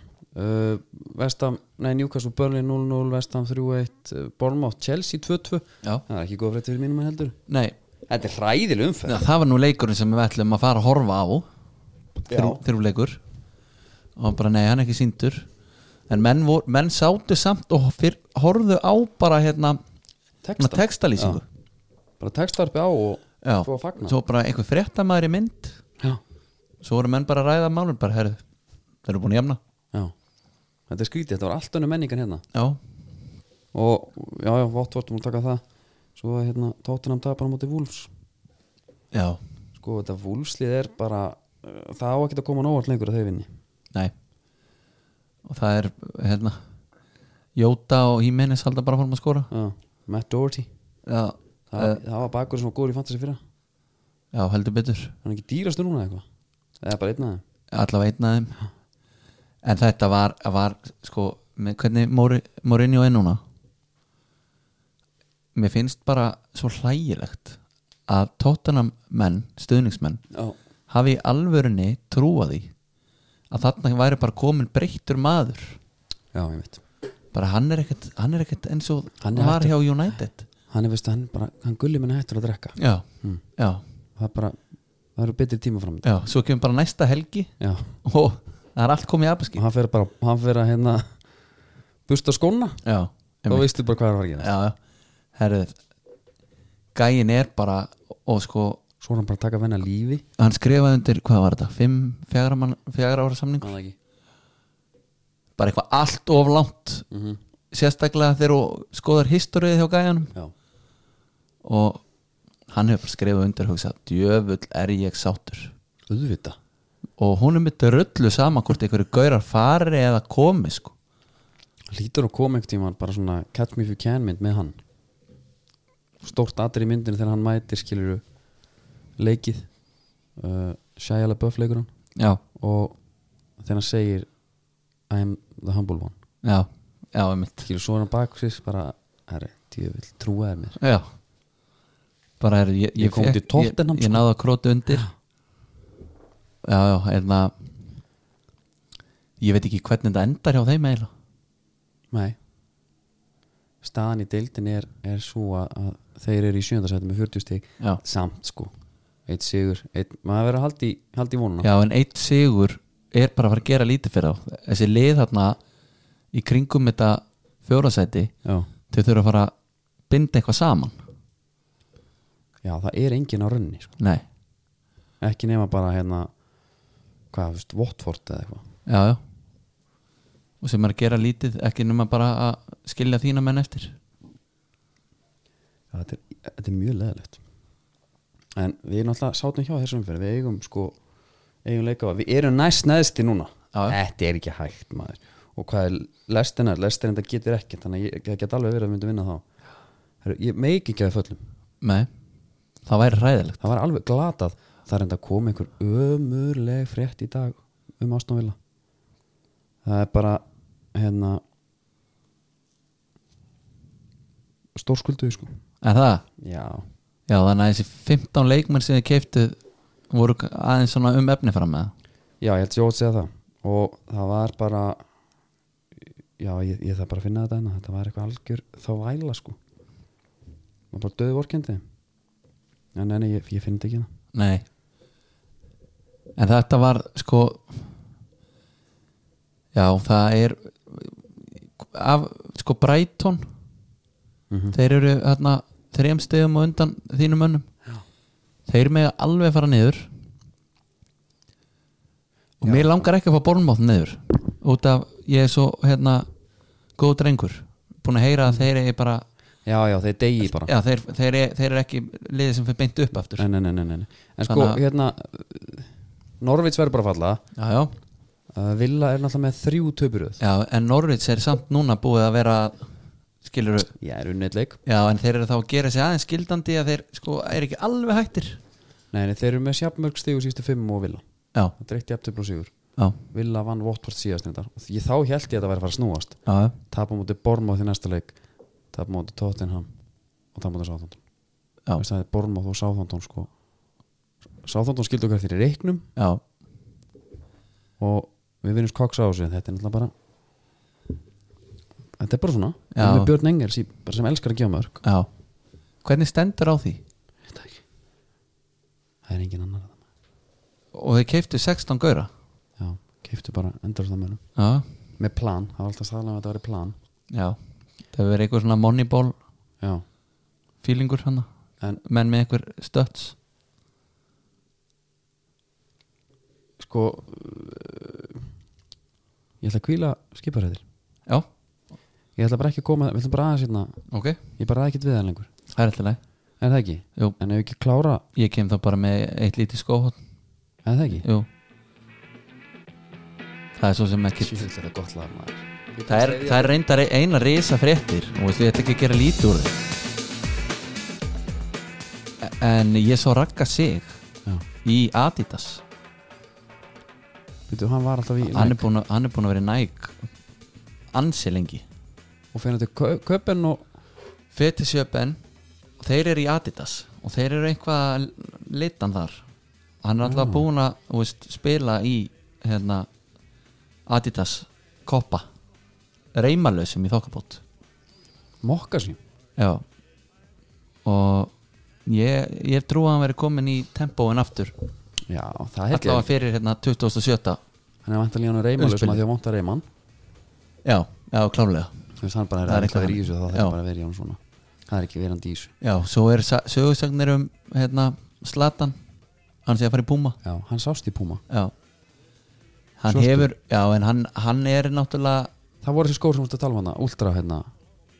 A: uh, Vestam, nei, Newcastle Burnley 0-0 Vestam 3-1, uh, Bournemouth Chelsea 2-2,
B: Já,
A: það er ekki góð frétt fyrir mínum menn heldur
B: nei,
A: Þetta er hræðileg umferð
B: Já, það var nú leikurinn sem við ætlum að fara að horfa á þrjú, þrjú leikur og bara nei, hann er ekki síndur en menn, vor, menn sátu samt og fyr, horfðu á bara hérna
A: Texta.
B: textalýsingu
A: Bara textarpi á og
B: Já.
A: svo að fagna
B: svo bara einhver fréttamaður í mynd
A: Já,
B: svo voru menn bara að ræða málum bara herðu, þeir eru búin að jafna
A: já Þetta er skrítið, þetta var allt önnur menningan hérna
B: Já,
A: Og já, já, Votvort múl taka það Svo að hérna, Tottenham tapar á móti Wolves
B: já,
A: Sko, þetta Wolveslið er bara uh, Það á ekki að koma nóvart lengur að þau vinni
B: nei og það er hérna Jóta og Hímenis halda bara að fórum að skora
A: Já, Matt Doherty
B: Já,
A: Það,
B: Eh.
A: það var bakur sem var góður í fantasy fyrra
B: já heldur betur
A: Hann er ekki dýrastu núna eitthvað Eða bara einn af þeim
B: allavega einn af þeim en þetta var, var sko, með, hvernig Mori- Mourinho er núna mér finnst bara svo hlægilegt að tóttanam menn, stuðningsmenn
A: Já,
B: hafi í alvörunni trúað því að þarna væri bara komin breyttur maður
A: já, ég veit
B: bara hann er ekkert, hann er ekkert eins og
A: Hann
B: hann
A: er
B: var
A: hættur.
B: hjá United
A: Hann er veist, hann bara, hann gulli minna hættur að drekka
B: já, já,
A: Það er bara, það eru betri tíma fram
B: já svo kemur bara næsta helgi
A: Já,
B: og það er allt komið í abeski
A: og hann fer bara, hann fer að hérna Busta skóna
B: já,
A: Þá veistu bara hvað er að gera
B: já, já. herrið gæin er bara og sko,
A: Svo er hann bara að taka venna lífi
B: hann skrifaði undir hvað var þetta, fimm, fjagra, mann, fjagra ára samning
A: Hann ekki
B: bara eitthvað allt of langt sérstaklega þegar þú skoðar historið hjá gæjanum
A: Já,
B: og hann hefur bara skrifað undir og hugsað, djöfull er ég sáttur
A: auðvita
B: og hún er mitt rullu saman hvort einhverju gaurar fari eða komi sko.
A: Lítur að koma einhvern tímann bara svona Catch me if you can mynd með hann Stórt atrið í myndinu þegar hann mætir skilur leikið uh, Shia LaBeouf leikur hann
B: já,
A: og þegar hann segir I am the humble one
B: já, já, einmitt
A: skilur svo er hann bak sér bara herri, ég vil trúa þér mér
B: já bara er ég,
A: Ég kom
B: fékk-
A: til Tottenham,
B: ég, ég
A: sko.
B: náði að króta undir já, já, hérna ég veit ekki hvernig þetta endar hjá þeim eiginlega
A: nei staðan í deildin er, er svo að, að þeir eru í sjöndasæti með 40 stig
B: Já.
A: samt sko eitt sigur, eitt, maður verður að halda í, halda í vonuna
B: já, en eitt sigur er bara að fara að gera lítið fyrir þá þessi lið þarna í kringum þetta fjórasæti
A: Já.
B: þau þurfa að fara að binda eitthvað saman
A: Já, það er engin á runni sko.
B: nei,
A: ekki nema bara hérna hvað, þú veist, Watford eða eitthvað
B: já, já og sem er að gera lítið ekki nema bara að skilja þína menn eftir
A: Já, þetta er, þetta er mjög leðilegt en við náttúrulega sátum hjá þessum fyrir við eigum sko eigum leikafa, við erum næst neðsti núna
B: Já, já.
A: þetta er ekki hægt maður og hvað er lestina, lestina þetta getur ekki þannig að ég- það get alveg verið að við myndum vinna þá Heru, ég meik ekki að við föllum
B: nei, það væri hræðilegt
A: það var alveg glatað það er enda að koma einhver ömurleg frétt í dag um Astonvilla það er bara hérna stórskulduði sko
B: er það?
A: já,
B: Já þannig að þessi 15 leikmenn sem þið keiftu voru aðeins svona um efni fram með
A: já ég held sér að segja það og það var bara já ég, ég þarf bara að finna þetta hérna þetta var eitthvað algjör þá væla sko maður bara döði vorkendi en enni ég, ég finn þetta ekki hérna
B: Nei En þetta var sko Já það er af, sko Brighton
A: Mhm.
B: þeir eru hérna þrejum stegum og undan þínum önnum Já. þeir mega alveg fara niður og mér langar ekki að fá Bornmátt niður út af ég er svo hérna góð drengur búin að heyra að þeir eru bara
A: já, já þeir degi bara
B: Já, þeir, þeir, er, þeir eru ekki liðið sem fyrir beint upp aftur
A: nei, nei, nei, nei, nei. en sko
B: Þannig að-
A: hérna Norvits verður bara að falla
B: Já, já
A: uh, Villa er náttúrulega með þrjú töpuröð
B: Já, en Norvits er samt núna búið að vera skilur
A: ég er unnið leik
B: Já, en þeir eru þá að gera sig aðeins skildandi að þeir sko er ekki alveg hættir
A: nei, nei, þeir eru með sjafnmörg stig og sístu fimm og Villa
B: Já,
A: það er eitt jafntöfl og sigur
B: já,
A: Villa vann Votvort síðast neyndar og ég, þá held ég að það væri að fara að snúast
B: já,
A: tapa á móti Bormóð í næsta leik tapa á móti Tottenham og tapa á móti Sáþóndun
B: Já.
A: það er Bormóð og Sáþóndun sko Sáþóndun skildu okkar fyrir reiknum
B: já
A: og við vinnum koks á þessu en þetta er náttúrulega bara þetta er bara svona
B: Já.
A: og með Björn Engels í- bara sem elskar að gefa mörg
B: Já, hvernig stendur á því?
A: það er engin annar þarna.
B: Og þeir keiftu 16 gaura
A: já, keiptu bara endur það mönnum
B: Já,
A: með plan, það var alltaf sæðlega að þetta væri plan
B: já Það hefur verið eitthvað svona moneyball
A: já,
B: feelingur hana
A: En-
B: menn með einhver stöts
A: sko uh, ég ætla að kvíla skiparhæðir
B: Já,
A: ég ætla bara ekki að koma, við ætlum bara aðeins hérna
B: ok,
A: ég bara aðeins ekki við það lengur,
B: það er alltaf leið
A: er það ekki?
B: Jú,
A: en ef ekki klára,
B: ég kem þá bara með eitt lítið skóhótt
A: er það ekki?
B: Jú Það er svo sem ekki
A: Sjöfell er það gott lag maður
B: Það er, það er reyndar eina risa fréttir og veist, ég ætla ekki að gera lítið úr þeim E- en ég svo rakka sig
A: Já.
B: í Adidas
A: Býtu, hann var alltaf í
B: hann er, búin að, hann er búin að vera í Nike ansi lengi
A: og fyrir til Kö- köpen og
B: Fetisjöpen þeir eru í Adidas og þeir eru eitthvað litan þar hann er alltaf búin að þú veist, spila í hérna, Adidas koppa reymalösum í þokkabót
A: mokka sín
B: Já og ég, ég trú að hann veri komin í tempóin aftur
A: já, það held ég
B: allavega fyrir hérna 2007
A: hann er vantan líðan að reyma
B: Umspilið.
A: lausum að því að vonta reyman
B: Já, já, klálega
A: þú veist hann bara er
B: Það er
A: að
B: eitthvað
A: eitthvað verið í þessu þá þarf
B: Já.
A: bara að vera í hann svona það er ekki verandi í þessu
B: Já, svo er sa- sögursagnir um hérna Slatan hann sé að fara í Puma
A: já, hann sást í Puma
B: Já Hann
A: Svörtu.
B: hefur, já en hann, hann er náttúrulega
A: það voru þessi skór sem þú ert að tala um hana ultra hérna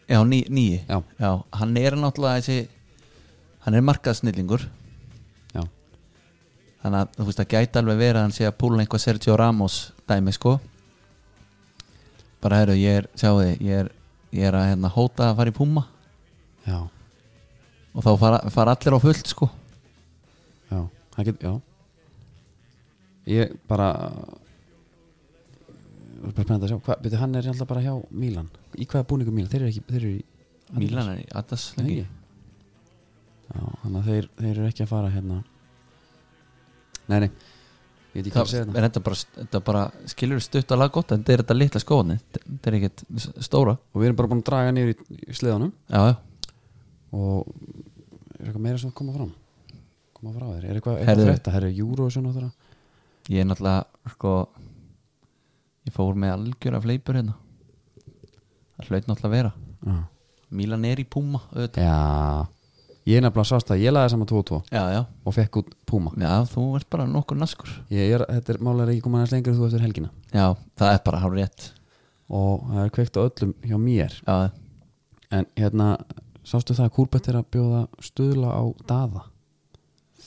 B: já, ný, nýi
A: Já.
B: hann er náttúrulega þessi hann er markaðsnillingur
A: já,
B: þannig að þú veist að gæti alveg verið að hann sé að púla einhvað Sergio Ramos dæmi sko bara herru, ég er, sjáu þið ég er, ég er að hérna, hóta að fara í Puma
A: já,
B: og þá fara, fara allir á fullt sko
A: já það get, já ég bara Ég var bara spennandi að sjá hvað, byrju hann er alltaf bara hjá Mílan í hvaða búningu Mílan, þeir eru ekki þeir eru í,
B: Mílan er í Adas
A: Nei, ekki. já, þannig að þeir, þeir eru ekki að fara hérna nei, nei ég hérna. veit ekki hvað að
B: það
A: segja þetta
B: er þetta bara, þetta bara skilur stutt alveg gott en þetta er þetta litla skóðni þetta er ekkert s- stóra
A: og við erum bara búin að draga niður í, í sleðanum
B: já, já.
A: og er eitthvað meira sem koma fram koma frá þér, er eitthvað,
B: Herðu.
A: eitthvað þetta herri, júru og svona þar
B: ég er náttúrulega sko ég fór með algjör af fleipur hérna það hlaut náttúrulega að vera Mílan er í Puma auðvitað.
A: já, ég er nefnilega sást að ég laði saman 2 og 2
B: já, já,
A: og fekk út Puma
B: já, þú ert bara nokkur naskur
A: ég er, þetta er málega ekki koma aðeins lengur en þú eftir helgina
B: Já, það er bara hálf rétt
A: og það er kveikt á öllum hjá mér
B: Já,
A: en hérna, sástu það að Kúrbett er að bjóða stuðla á daða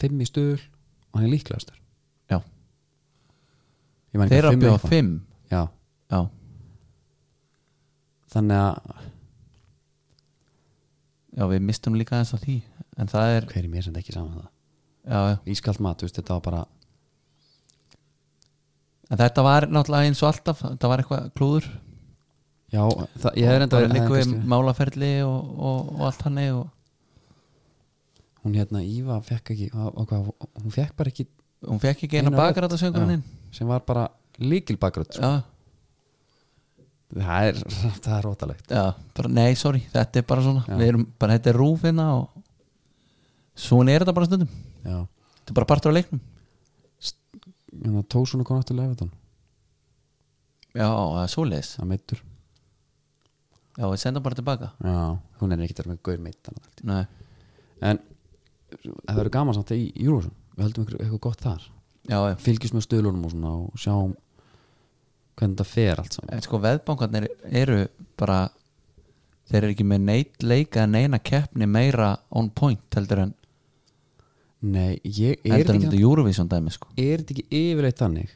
A: fimm í stuðl og hann er líklegastur
B: já.
A: Ég man ekki
B: þeir eru
A: fimm
B: að bjóða
A: eitthvað.
B: fimm
A: já,
B: Já,
A: þannig að
B: já við mistum líka þess að því en það er,
A: hver er mér sem ekki saman það
B: já, já
A: ískalt mat, þú veist, þetta var bara
B: en þetta var náttúrulega eins og alltaf þetta var eitthvað klúður
A: já, það, sko. ég hefði enda
B: það líka við
A: kannski-
B: málaferli og, og, og allt hann og,
A: hún hérna Íva fekk ekki á, á, hvað, hún fekk bara ekki
B: hún fekk ekki eina
A: eina rödd.
B: bakar að
A: Já,
B: söngurinn inn
A: sem var bara líkil bakgröð
B: já,
A: það er, það er rótalegt
B: já, bara nei, sorry, þetta er bara svona við erum bara, þetta er rúfinna og svona er þetta bara stundum
A: já,
B: þetta er bara partur á leiknum
A: en það tóð svona konu aftur leifatan
B: já, það er svoleiðis
A: það meittur,
B: já, við sendum bara tilbaka
A: já, hún er ekki þar með gaur meittan
B: nei,
A: en það verður gaman samt í Júrósum við höldum ykkur eitthvað gott þar
B: já, já
A: fylgjumst með stöðlunum og svona og sjáum hvernig þetta fer allt saman
B: en sko veðbankarnir eru bara þeir eru ekki með neitt leika en neina keppni meira on point heldur en
A: nei, ég er
B: heldur en
A: þetta
B: þetta
A: ekki,
B: Eurovision dæmi sko
A: er þetta ekki yfirleitt þannig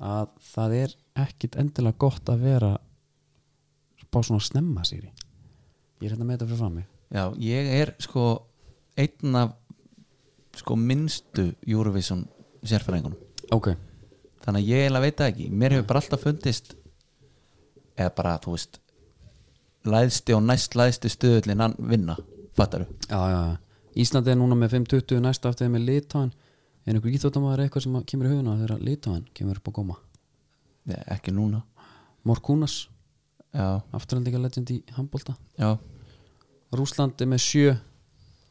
A: að það er ekkit endilega gott að vera bara svona snemma sýri ég er hérna með þetta fyrir fram mig
B: já, ég er sko einn af sko minnstu Eurovision sérfæringunum
A: ok,
B: þannig að ég eiginlega veit það ekki mér hefur bara alltaf fundist eða bara, þú veist læðsti og næst læðsti stöðullin hann vinna, fattaru
A: já, já, já Íslandi er núna með 5.20 næsta eftir með Litáin er einhver íþjóttamæður eitthvað sem kemur í huguna þegar Litáin kemur upp á góma
B: Nei, ekki núna
A: Morkunas,
B: já,
A: afturhaldingar legend í handbólta
B: já,
A: Rúsland er með sjö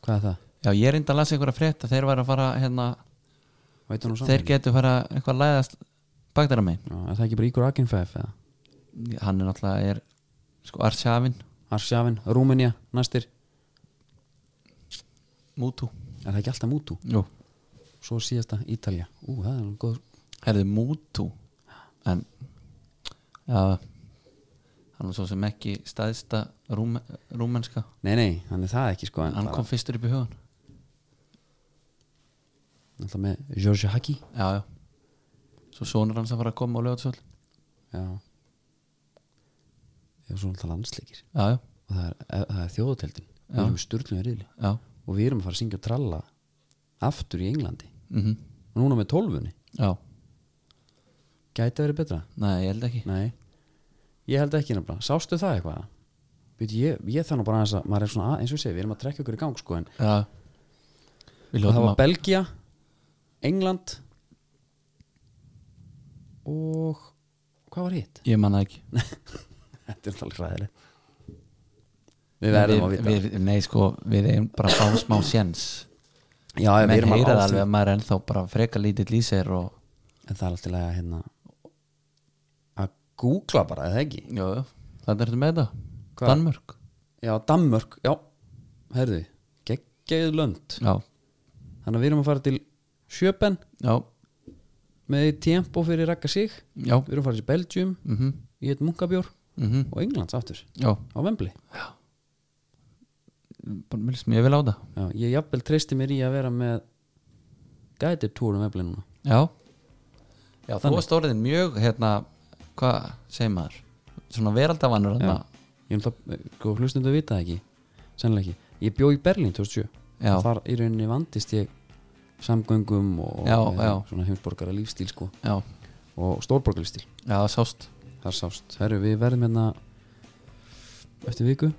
A: Hvað er það?
B: já, ég er enda að lasa einhverja frétt að þeir væri að fara hérna,
A: Veitur nú saman?
B: þeir getur fara eitthvað að læðast bakdara megin
A: Já, er það ekki bara Ígur Akinfef eða?
B: hann er náttúrulega, er sko Arshavin,
A: Arsjafin, Rúmenja, næstir
B: Mútu
A: Er það ekki alltaf Mútu?
B: Jú.
A: Svo er síðasta Ítalja Ú, það er nú góð
B: herði Mútu en já, hann var svo sem ekki staðista rúme, rúmenska
A: Nei, nei, hann er það ekki sko en
B: hann
A: bara-
B: kom fyrstur upp í hugan
A: Alltaf með George Haki
B: já, já svo sonur hans að fara að koma á lögatsvöld
A: Já Ég er svo alltaf landsleikir
B: já, já,
A: Og það er, e- það er þjóðuteldin Við erum í sturlunum riðli
B: já
A: Og við erum að fara að syngja og tralla Aftur í Englandi
B: mm
A: Núna með tólfunni
B: já,
A: Gæti að vera betra
B: nei, ég held ekki
A: Nei, ég held ekki nefnilega Sástu það eitthvað? Við, ég, ég þannig bara aðeins að maður er svona að, eins og ég segi, við erum að trekka ykkur í gang sko en
B: já við
A: það
B: ljóðum
A: var
B: að
A: Belgia, England og hvað var hitt?
B: ég manna ekki
A: Þetta er alltaf hræðileg Við verðum að vita
B: við, við, nei, sko, við erum bara að fá smá séns
A: Já, við
B: menn
A: erum
B: heyra
A: að
B: það
A: ástu
B: alveg að maður er ennþá bara freka lítill í sér og
A: En það er alltaf lega hérna að googla bara, eða ekki?
B: já, já, þannig ertu með þetta
A: Hvað?
B: Danmörk,
A: Já, Danmörk, já, herðu geggjöð lönd
B: já,
A: Þannig að við erum að fara til Sjöpen
B: já,
A: með tempo fyrir rakka sig
B: já
A: við erum farið til Belgium
B: mhm, mhm
A: í eitt munkabjór og Englands aftur
B: já,
A: á Vembli
B: bara mér sem ég vil á það
A: já, ég jafnvel treysti mér í að vera með guided tour um Vembli núna
B: já, já þú varst orðin mjög hérna, hvað segir maður svona veraldavannur
A: já.
B: hérna.
A: ég er alltaf hlustum að vita það ekki sennilega ekki, ég bjó í Berlín 2007
B: Já.
A: þar í rauninni vandist ég samgöngum og
B: Já,
A: og, eh,
B: já.
A: svona heimsborgara lífstíl sko
B: já,
A: og stórborgarlífstíl,
B: já, sást
A: þar sást herru, við verðum hérna eftir viku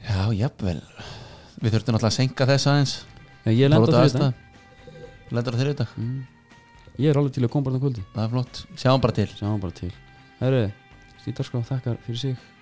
B: já, jafnvel við þurftum náttúrulega að senka þess aðeins
A: já, ég, lenda á þriðjudag.
B: lenda á þriðdag,
A: ég er alveg til að koma bara þann kvöldi
B: það er flott sjáum bara til
A: sjáum bara til herru, Stíðarskóð þakkar fyrir sig